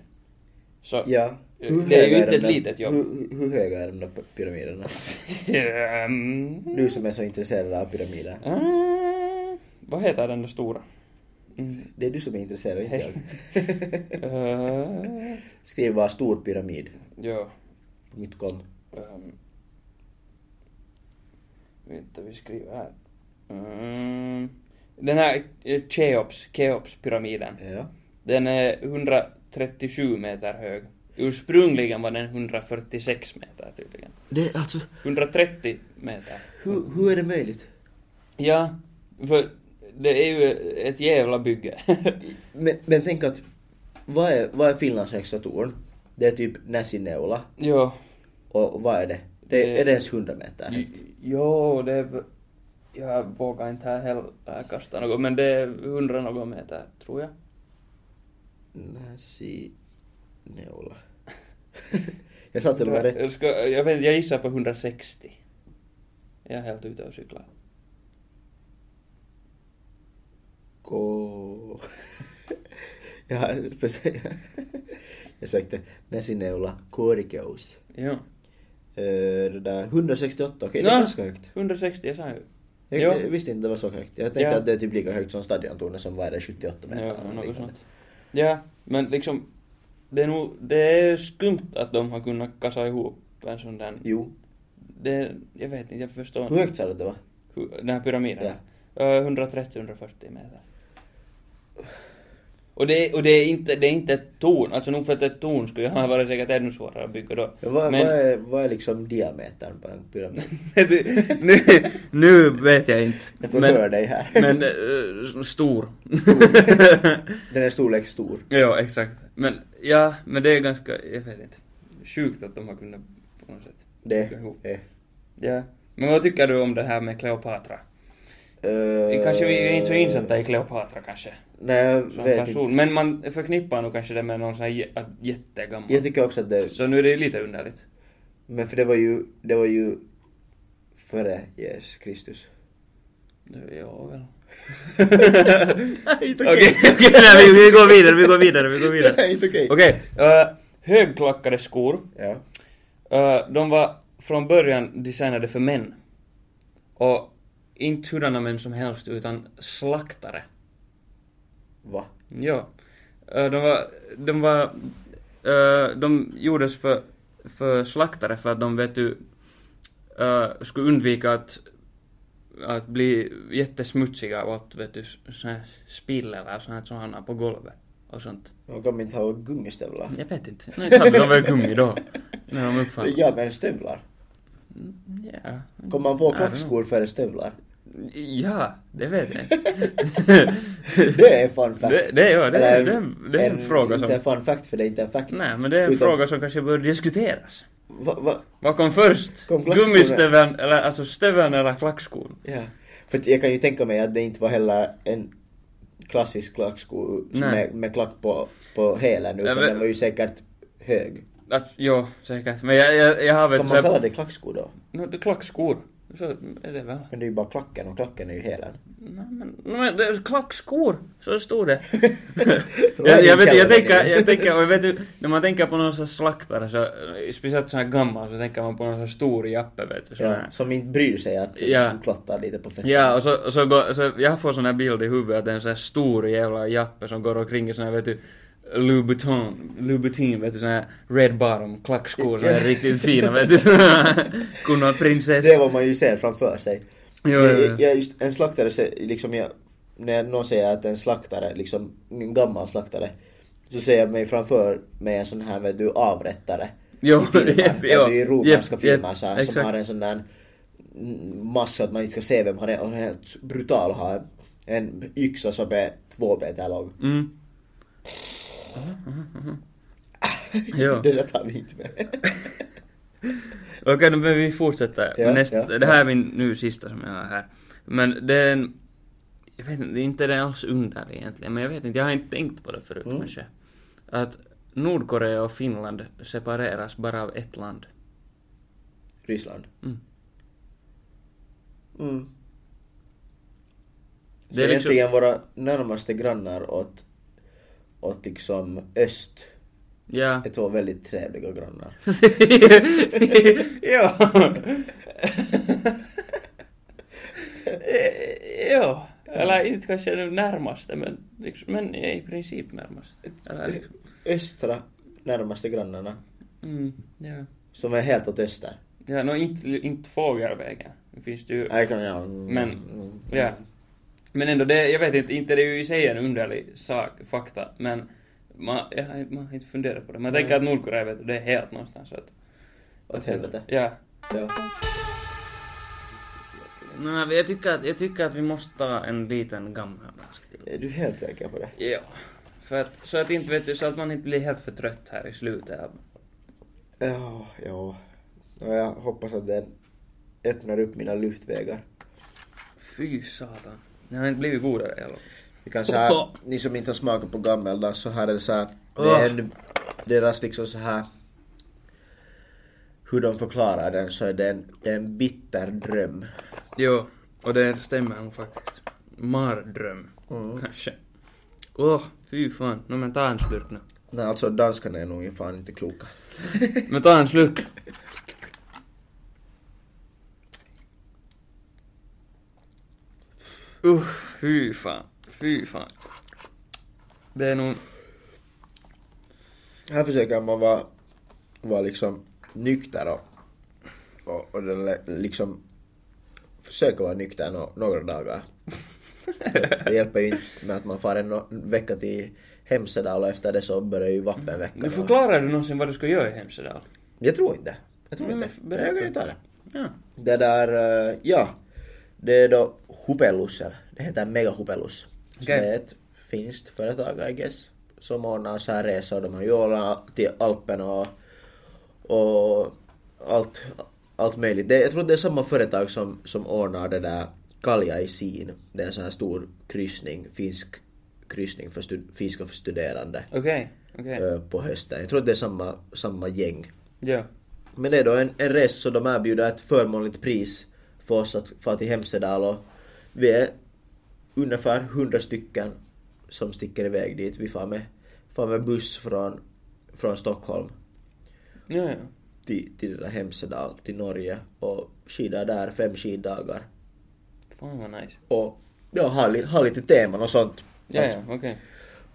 Speaker 3: Så...
Speaker 2: Ja.
Speaker 3: Det är ju
Speaker 2: höga
Speaker 3: inte
Speaker 2: de
Speaker 3: ett
Speaker 2: där-
Speaker 3: litet jobb.
Speaker 2: Hur, hur höga är de där pyramiderna?
Speaker 3: Ehm,
Speaker 2: Du som är så intresserad av pyramider.
Speaker 3: äh, Vad heter den där stora?
Speaker 2: Det är du som är intresserad, inte jag.
Speaker 3: Äh,
Speaker 2: Skriv bara stor pyramid
Speaker 3: Ja.
Speaker 2: på mitt kom.
Speaker 3: ehm, Vänta, vi skriver här. Mm, Den här eh, Cheops, Cheops-pyramiden.
Speaker 2: Ja.
Speaker 3: Den är 137 meter hög. Ursprungligen var den 146 meter tydligen.
Speaker 2: Det är alltså,
Speaker 3: 130 meter.
Speaker 2: hur, hur är det möjligt?
Speaker 3: Ja, för det är ju ett jävla bygge.
Speaker 2: Men, men tänk att, vad är, vad är Finlands högsta torn? Det är typ Näsineula.
Speaker 3: jo,
Speaker 2: Och, och vad är det?
Speaker 3: Det-
Speaker 2: det är det ens 100 meter?
Speaker 3: j- jo, det är... v- Jag vågar inte här heller kasta något, men det är 100 något meter, tror jag.
Speaker 2: Näsineula. jag sa att det var rätt.
Speaker 3: Jag, ska, jag, vet, jag gissar på 160. Jag är helt ute och cyklar.
Speaker 2: Ko... jag, för, jag sökte Näsineula Korkeus.
Speaker 3: Jo.
Speaker 2: Eh, Det där 168, okej det
Speaker 3: Nå,
Speaker 2: är ganska högt.
Speaker 3: 160, jag sa ju.
Speaker 2: Jag
Speaker 3: Ja.
Speaker 2: jag visste inte det var så högt. Jag tänkte
Speaker 3: Ja.
Speaker 2: att det är typ lika högt som stadiontornet som vad är det, 78 meter? eller
Speaker 3: Ja, något
Speaker 2: liknande.
Speaker 3: sånt. Ja, men liksom, det är nog, det är skumt att de har kunnat kassa ihop en sån där,
Speaker 2: Jo.
Speaker 3: det, jag vet inte, jag förstår
Speaker 2: Hur
Speaker 3: inte.
Speaker 2: högt sa du att det var?
Speaker 3: Hur- Den här pyramiden? Eh, Ö, 130-140 meter. Och det, och det är inte, det är inte ett torn, alltså nog för att ett torn skulle ha varit säkert ännu svårare att bygga då.
Speaker 2: Ja, vad,
Speaker 3: Men-
Speaker 2: vad, är, vad är liksom diametern på en pyramid?
Speaker 3: nu, nu vet jag inte.
Speaker 2: Jag får höra dig här.
Speaker 3: men eh, stor.
Speaker 2: Den är storlek stor.
Speaker 3: Ja, exakt. Men ja, men det är ganska, jag vet inte. Sjukt att de har kunnat på något sätt.
Speaker 2: Det
Speaker 3: Jo.
Speaker 2: är...
Speaker 3: Ja. Men vad tycker du om det här med Kleopatra?
Speaker 2: Uh,
Speaker 3: Kanske vi är inte så insatta i Kleopatra kanske.
Speaker 2: Nej, jag
Speaker 3: Som
Speaker 2: vet inte.
Speaker 3: person. Men man förknippar nog kanske det med någon sån här jä- att jättegammal.
Speaker 2: Jag tycker också att det...
Speaker 3: Så nu är det lite underligt.
Speaker 2: Men för det var ju... Det var ju... Före Jesus Kristus.
Speaker 3: Ja, väl.
Speaker 2: Nej, inte
Speaker 3: Okej, okej, nej, vi, vi går vidare, vi går vidare, vi går vidare.
Speaker 2: Nej, inte okej.
Speaker 3: Okej, eh, högklackade skor.
Speaker 2: Ja.
Speaker 3: Eh, de var från början designade för män. Och inte hurdana män som helst, utan slaktare.
Speaker 2: Va?
Speaker 3: Ja. Eh, De var... De, var, eh, de gjordes för, för slaktare för att de vet du, eh, skulle undvika att, att bli jättesmutsiga av allt vet du, sån här spill eller sånt här som hamnar på golvet och sånt.
Speaker 2: Man kommer inte ha gummistövlar.
Speaker 3: Jag vet inte. Nej, inte hade de väl gummi då? När de uppfann.
Speaker 2: Ja, men stövlar.
Speaker 3: Ja.
Speaker 2: Kom man på
Speaker 3: Nej, det är
Speaker 2: klackskor före stövlar?
Speaker 3: Ja, det vet jag inte.
Speaker 2: Det är fun fact.
Speaker 3: Det- det- ja, det är-
Speaker 2: Eller
Speaker 3: det är- det är en fråga som-
Speaker 2: Inte en fun fact för det är inte en fact.
Speaker 3: Nej, men det är en
Speaker 2: Utan-
Speaker 3: fråga som kanske bör diskuteras.
Speaker 2: Va, va,
Speaker 3: Vad kom först?
Speaker 2: Kom klackskon-
Speaker 3: Gummistöveln, eller alltså stöveln eller klackskon?
Speaker 2: ja. För att jag kan ju tänka mig att det inte var heller en klassisk klacksko som
Speaker 3: Nej.
Speaker 2: med, med klack på, på hälen utan
Speaker 3: Ja, men-
Speaker 2: den var ju säkert hög.
Speaker 3: Att, jo, säkert. Men jag, jag, jag har vet
Speaker 2: Kan man kalla det klacksko då?
Speaker 3: No, det är klackskor. Så är det väl.
Speaker 2: Men det är ju bara klacken och klacken är ju hälen.
Speaker 3: Nej men, nej, men det är klackskor! Så stod det.
Speaker 2: Vad är
Speaker 3: jag,
Speaker 2: din
Speaker 3: jag, vet,
Speaker 2: källa
Speaker 3: jag, tänker,
Speaker 2: till det?
Speaker 3: jag tänker, och jag vet ju, när man tänker på någon sån slaktare, så, eh, speciellt sån här gammal, så tänker man på någon sån stor jappe vet du. Sån
Speaker 2: Ja,
Speaker 3: här.
Speaker 2: som inte bryr sig att
Speaker 3: Ja.
Speaker 2: de klottar lite på fötterna.
Speaker 3: Ja, och så, och så, går, så jag får sån här bild i huvudet att det är en sån här stor jävla jappe som går omkring i sån här vet du Louboutin, Louboutin vet du sån här red bottom klackskor som är riktigt fina vet du. Kunna
Speaker 2: Det är
Speaker 3: prinsessa.
Speaker 2: vad man ju ser framför sig.
Speaker 3: Jo,
Speaker 2: jag,
Speaker 3: jo, jo.
Speaker 2: jag, just, en slaktare, se- liksom jag, när någon säger att en slaktare, liksom en gammal slaktare, så ser jag mig framför mig en sån här vet du, avrättare.
Speaker 3: Jo,
Speaker 2: I filmer,
Speaker 3: jep,
Speaker 2: eller i
Speaker 3: jo,
Speaker 2: romerska
Speaker 3: jep,
Speaker 2: filmer
Speaker 3: jep,
Speaker 2: så här, som
Speaker 3: exakt.
Speaker 2: har en sån där mm, massa att man inte ska se vem han är och helt brutal har en yxa som är två meter lång.
Speaker 3: Mm. Jo.
Speaker 2: Det där tar vi inte med.
Speaker 3: Okej, då behöver vi fortsätta.
Speaker 2: Ja,
Speaker 3: Men nästa,
Speaker 2: ja.
Speaker 3: det här är min nu sista som jag har här. Men det är en... Jag vet inte, det är inte det alls under egentligen, men jag vet inte, jag har inte tänkt på det förut
Speaker 2: Mm.
Speaker 3: kanske. Att Nordkorea och Finland separeras bara av ett land.
Speaker 2: Ryssland.
Speaker 3: Mm.
Speaker 2: Mm.
Speaker 3: Det
Speaker 2: Så
Speaker 3: är liksom-
Speaker 2: egentligen våra närmaste grannar åt, åt liksom öst
Speaker 3: Ja.
Speaker 2: är två väldigt trevliga grannar.
Speaker 3: ja. Eh, ja. Eller inte kanske nu närmaste, men, liksom, men i princip närmast. Eller liksom.
Speaker 2: Östra närmaste grannarna
Speaker 3: Mm, ja.
Speaker 2: som är helt åt öster.
Speaker 3: Ja, no, inte, inte fågelvägen. Det finns det ju.
Speaker 2: Nej, kan jag... mm,
Speaker 3: Men,
Speaker 2: mm.
Speaker 3: Ja. Men ändå, det, jag vet inte, inte det är ju i sig en underlig sak, fakta, men man, jag, har- man har inte funderat på det. Man
Speaker 2: Nej.
Speaker 3: tänker att Nordkorea, vet du, det är helt någonstans. Att,
Speaker 2: Åt helvete.
Speaker 3: Ja.
Speaker 2: Ja.
Speaker 3: Nej, jag tycker, att, jag tycker att vi måste ta en liten gammaldansk till.
Speaker 2: Är du helt säker på det?
Speaker 3: Ja. För att, så att inte, vet du, så att man inte blir helt för trött här i slutet av...
Speaker 2: Ja, ja. Ja, Jag hoppas att den öppnar upp mina luftvägar.
Speaker 3: Fy satan. Jag har inte blivit godare i alla fall.
Speaker 2: Vi kan så här, ni som inte har smakat på gammeldans så här är det så här, det är en, deras liksom så här hur de förklarar den så är det en, det är en bitter dröm.
Speaker 3: Jo, och det stämmer nog faktiskt. Mardröm,
Speaker 2: Mm.
Speaker 3: kanske. Åh, fy fan. Nå men ta en slurk nu.
Speaker 2: Nej alltså danskarna är nog ju fan inte kloka.
Speaker 3: Men ta en slurk. Uff, fy fan. Fy fan. Det är nog...
Speaker 2: Här försöker man vara, vara liksom nykter och, och, och den lä- liksom försöka vara nykter nå- några dagar. Det hjälper ju inte med att man far en no- vecka till Hemsedal och efter det så börjar ju
Speaker 3: Nu
Speaker 2: vapenveckan. och-
Speaker 3: förklarar du någonsin vad du ska göra i Hemsedal.
Speaker 2: Jag tror inte. Jag tror
Speaker 3: Nej,
Speaker 2: inte.
Speaker 3: men
Speaker 2: Men jag kan ju ta det.
Speaker 3: Ja.
Speaker 2: Det där, eh, ja. Det är då Hupelus, eller det heter Mega Hupelus. Som
Speaker 3: Okej.
Speaker 2: är ett finskt företag, I guess. Som ordnar så här resor. De har ju ordnat till Alperna och, och allt, allt möjligt. Det, jag tror det är samma företag som, som ordnar det där Kalja i Sin. Det är en sån här stor kryssning, finsk kryssning för stud, finska för studerande
Speaker 3: Okej, okej.
Speaker 2: eh, på hösten. Jag tror det är samma, samma gäng.
Speaker 3: Ja.
Speaker 2: Men det är då en, en resa som de erbjuder ett förmånligt pris för oss att fara till Hemsedal och vi är ungefär 100 stycken som sticker iväg dit. Vi far med, far med buss från, från Stockholm
Speaker 3: Ja, ja.
Speaker 2: till, till det där Hemsedal, till Norge och skidar där fem skiddagar.
Speaker 3: Fan vad nice.
Speaker 2: Och ja, har, li, har lite teman och sånt.
Speaker 3: Ja,
Speaker 2: Att
Speaker 3: ja, okej.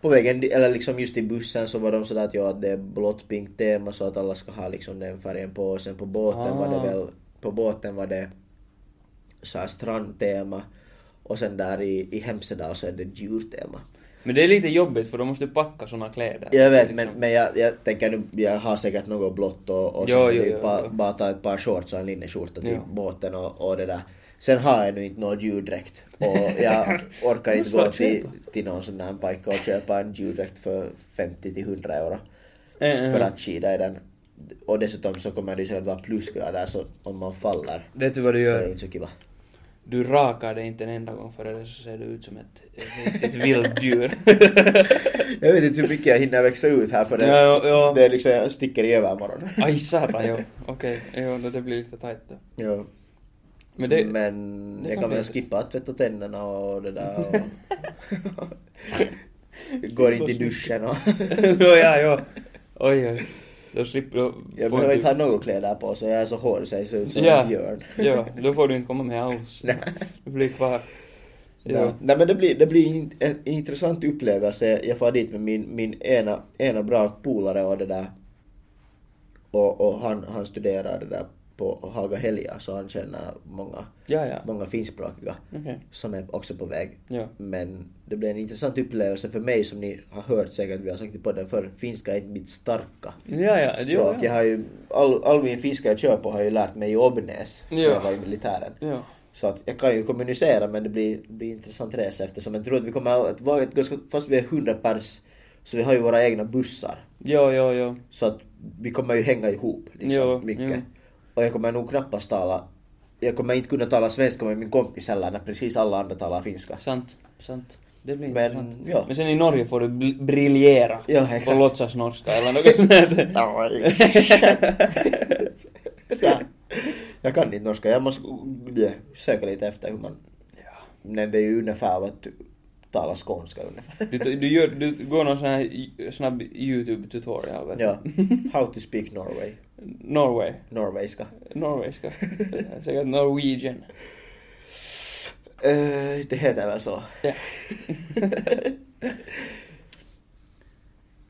Speaker 2: På vägen, di- eller liksom just i bussen så var de sådär att ja, att det är blått pink tema så att alla ska ha liksom den färgen på och sen på båten var
Speaker 3: Ah.
Speaker 2: det väl, på båten var det så här strandtema och sen där i, i Hemsedal så är det djurtema.
Speaker 3: Men det är lite jobbigt för då måste du packa såna kläder.
Speaker 2: Jag vet
Speaker 3: Liksom.
Speaker 2: men, men jag, jag tänker nu, jag har säkert något blått och, och
Speaker 3: Jo,
Speaker 2: sen är
Speaker 3: jo,
Speaker 2: det ju
Speaker 3: jo,
Speaker 2: bara,
Speaker 3: jo.
Speaker 2: bara ta ett par shorts och en linneskjorta till
Speaker 3: Ja.
Speaker 2: båten och, och det där. Sen har jag nu inte någon djurdräkt och jag orkar inte
Speaker 3: Måste
Speaker 2: gå
Speaker 3: bara
Speaker 2: till,
Speaker 3: köpa.
Speaker 2: till någon sån här pajka och köpa en djurdräkt för 50 till 100 euro
Speaker 3: Eh,
Speaker 2: för att skida i den. Och dessutom så kommer det ju säkert vara plusgrader så om man faller
Speaker 3: Vet du vad du
Speaker 2: så är det
Speaker 3: gör?
Speaker 2: inte så kiva.
Speaker 3: Du rakar dig inte en enda gång för det så ser du ut som ett riktigt vilddjur.
Speaker 2: Jag vet inte hur mycket jag hinner växa ut här för det,
Speaker 3: Ja, ja, ja.
Speaker 2: det är liksom, jag sticker i övermorgon.
Speaker 3: Ai satan, jo. Okej, jo, no, det blir lite tajt då.
Speaker 2: Ja.
Speaker 3: Men det...
Speaker 2: Men
Speaker 3: det
Speaker 2: jag
Speaker 3: kan
Speaker 2: kan väl
Speaker 3: bli-
Speaker 2: skippa att tvätta tänderna och det där och... Går inte i duschen och...
Speaker 3: jo, ja, jo. Oj, oj. Då slipper då
Speaker 2: Jag
Speaker 3: får
Speaker 2: behöver
Speaker 3: du...
Speaker 2: inte ha några kläder på så jag är så hård så jag ser ut som
Speaker 3: Ja.
Speaker 2: en björn.
Speaker 3: Jo, då får du inte komma med alls. Du blir kvar.
Speaker 2: Ja.
Speaker 3: Jo.
Speaker 2: Nej men det blir, det blir in- en intressant upplevelse. Jag far dit med min, min ena, ena bra polare och det där. Och, och han, han studerar det där på Haga Helja så han känner många,
Speaker 3: Ja, ja.
Speaker 2: många finskspråkiga
Speaker 3: Okej.
Speaker 2: som är också på väg.
Speaker 3: Ja.
Speaker 2: Men det blev en intressant upplevelse för mig som ni har hört säkert, vi har sagt det på den förr, finska är inte mitt starka
Speaker 3: Ja, ja.
Speaker 2: språk.
Speaker 3: Jo,
Speaker 2: Jag
Speaker 3: ja.
Speaker 2: har ju, all, all min finska jag kör på har jag ju lärt mig i Obnäs när
Speaker 3: Ja.
Speaker 2: jag var i militären.
Speaker 3: Jo.
Speaker 2: Så att jag kan ju kommunicera men det blir, det blir en intressant resa eftersom jag tror att vi kommer att vara ett ganska, fast vi är 100 pers, så vi har ju våra egna bussar.
Speaker 3: Jo, jo, jo.
Speaker 2: Så att vi kommer ju hänga ihop liksom,
Speaker 3: Jo,
Speaker 2: mycket.
Speaker 3: jo.
Speaker 2: Och jag kommer nog knappast tala, jag kommer inte kunna tala svenska med min kompis heller när precis alla andra talar finska.
Speaker 3: Sant, sant. Det blir
Speaker 2: Men,
Speaker 3: intressant.
Speaker 2: ja.
Speaker 3: Men sen i Norge får du bl- briljera.
Speaker 2: Ja, exakt.
Speaker 3: Och låtsas norska eller något sånt där.
Speaker 2: ja. Jag kan inte norska, jag måste ja, söka lite efter hur man...
Speaker 3: Ja.
Speaker 2: Men det är ju ungefär vad du talar skånska ungefär.
Speaker 3: Du, du, gör, du går någon sån här y- snabb YouTube-tutorial vet du.
Speaker 2: Ja. How to speak Norway.
Speaker 3: Norway.
Speaker 2: Norwayska.
Speaker 3: Norwayska. Säkert Norwegian.
Speaker 2: Eh, det heter väl så.
Speaker 3: Ja.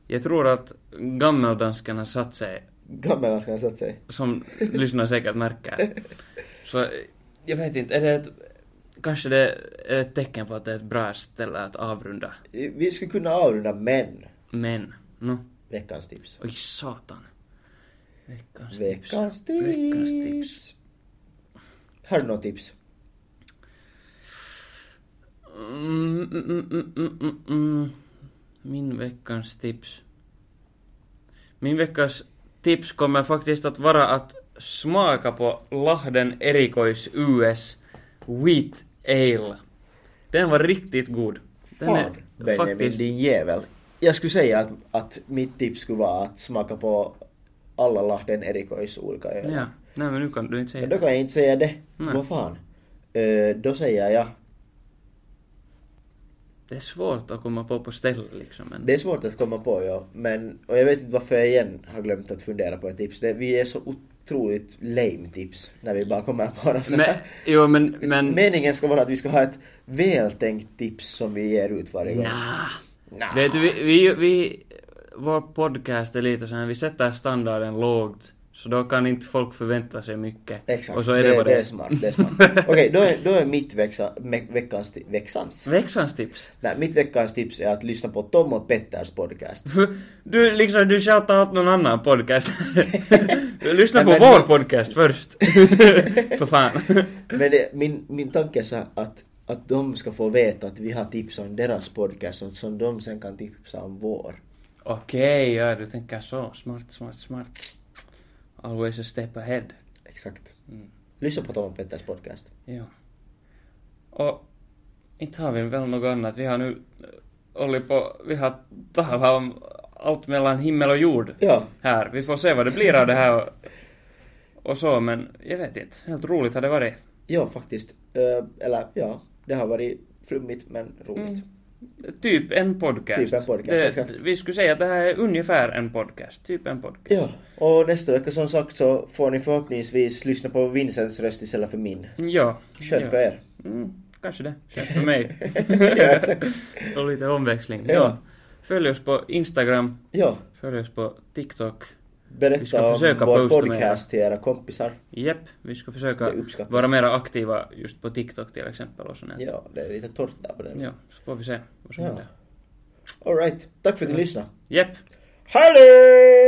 Speaker 3: Jag tror att gammeldanskarna satt sig,
Speaker 2: Gammeldanskan ska jag sätta sig.
Speaker 3: som lyssnar säkert märker. Så jag vet inte, är det ett, kanske det är ett tecken på att det är ett bra ställe att avrunda.
Speaker 2: Vi skulle kunna avrunda men.
Speaker 3: Men, no, nu.
Speaker 2: Veckans tips.
Speaker 3: Oj satan. Veckans tips.
Speaker 2: Veckans tips.
Speaker 3: Veckans tips.
Speaker 2: Har du något tips?
Speaker 3: Mm, mm, mm, mm, mm, mm. Min veckans tips. Min veckans tips kommer faktiskt att vara att smaka på Lahden Erikois US Wheat Ale. Den var riktigt god. Den
Speaker 2: Fan, Benjamin din jävel. Jag skulle säga att, att mitt tips skulle vara att smaka på alla Lahden Erikois olika öl.
Speaker 3: Ja, nej men nu kan du inte säga
Speaker 2: Men då
Speaker 3: det.
Speaker 2: kan jag inte säga det.
Speaker 3: Nej.
Speaker 2: Vad fan. Eh, då säger jag
Speaker 3: Det är svårt att komma på på stället liksom. Men...
Speaker 2: Det är svårt att komma på ja. Men, och jag vet inte varför jag igen har glömt att fundera på ett tips. Det, vi är så otroligt lame tips när vi bara kommer på dem så
Speaker 3: Men,
Speaker 2: här.
Speaker 3: jo men, men...
Speaker 2: Meningen ska vara att vi ska ha ett vältänkt tips som vi ger ut varje gång.
Speaker 3: Nja.
Speaker 2: Nja.
Speaker 3: Vet du, vi, vi, vi, vår podcast är lite så här, vi sätter standarden lågt. Så då kan inte folk förvänta sig mycket.
Speaker 2: Exakt,
Speaker 3: Och så är det, vad
Speaker 2: det är
Speaker 3: det
Speaker 2: smart. Det är smart. Okej, då, är, då är mitt växa, me, veckans, ti- växans.
Speaker 3: Veckans tips.
Speaker 2: Nej, mitt veckans tips är att lyssna på Tom och Petters podcast.
Speaker 3: Du liksom, du shoutar åt någon annan podcast. Lyssna
Speaker 2: Nej,
Speaker 3: på
Speaker 2: men-
Speaker 3: vår podcast först. För fan.
Speaker 2: Men det, min, min tanke är så här att, att de ska få veta att vi har tips om deras podcast så att som de sen kan tipsa om vår.
Speaker 3: Okej, ja du tänker så. Smart, smart, smart. Always a step ahead.
Speaker 2: Exakt.
Speaker 3: Mm.
Speaker 2: Lyssna på Tom och Petters podcast.
Speaker 3: Ja. Och inte har vi väl något annat. Vi har nu hållit på, vi har talat om allt mellan himmel och jord
Speaker 2: Ja,
Speaker 3: här. Vi får se vad det blir av det här och, och så, men jag vet inte. Helt roligt har det varit.
Speaker 2: ja faktiskt. Eh, eller ja, det har varit flummigt men roligt.
Speaker 3: Mm. Typ en podcast.
Speaker 2: Typ en podcast, exakt.
Speaker 3: vi skulle säga att det här är ungefär en podcast. Typ en podcast.
Speaker 2: Ja, och nästa vecka som sagt så får ni förhoppningsvis lyssna på Vincents röst istället för min.
Speaker 3: Ja.
Speaker 2: Skönt
Speaker 3: ja.
Speaker 2: för er.
Speaker 3: Mm, kanske det. Skönt för mig.
Speaker 2: ja, exakt.
Speaker 3: och lite omväxling.
Speaker 2: Ja.
Speaker 3: Ja. Följ oss på Instagram.
Speaker 2: Ja,
Speaker 3: Följ oss på TikTok. Vi
Speaker 2: berätta
Speaker 3: ska
Speaker 2: om
Speaker 3: försöka
Speaker 2: vår
Speaker 3: posta mer.
Speaker 2: podcast till era kompisar.
Speaker 3: Jep, vi ska försöka
Speaker 2: Det uppskattas.
Speaker 3: vara mer aktiva just på TikTok till exempel och sånt.
Speaker 2: Ja, det är lite torrt där på den.
Speaker 3: ja, så får vi se vad som
Speaker 2: Ja.
Speaker 3: händer.
Speaker 2: Alright, tack för att ni lyssnade.
Speaker 3: Jep.
Speaker 2: Hej då!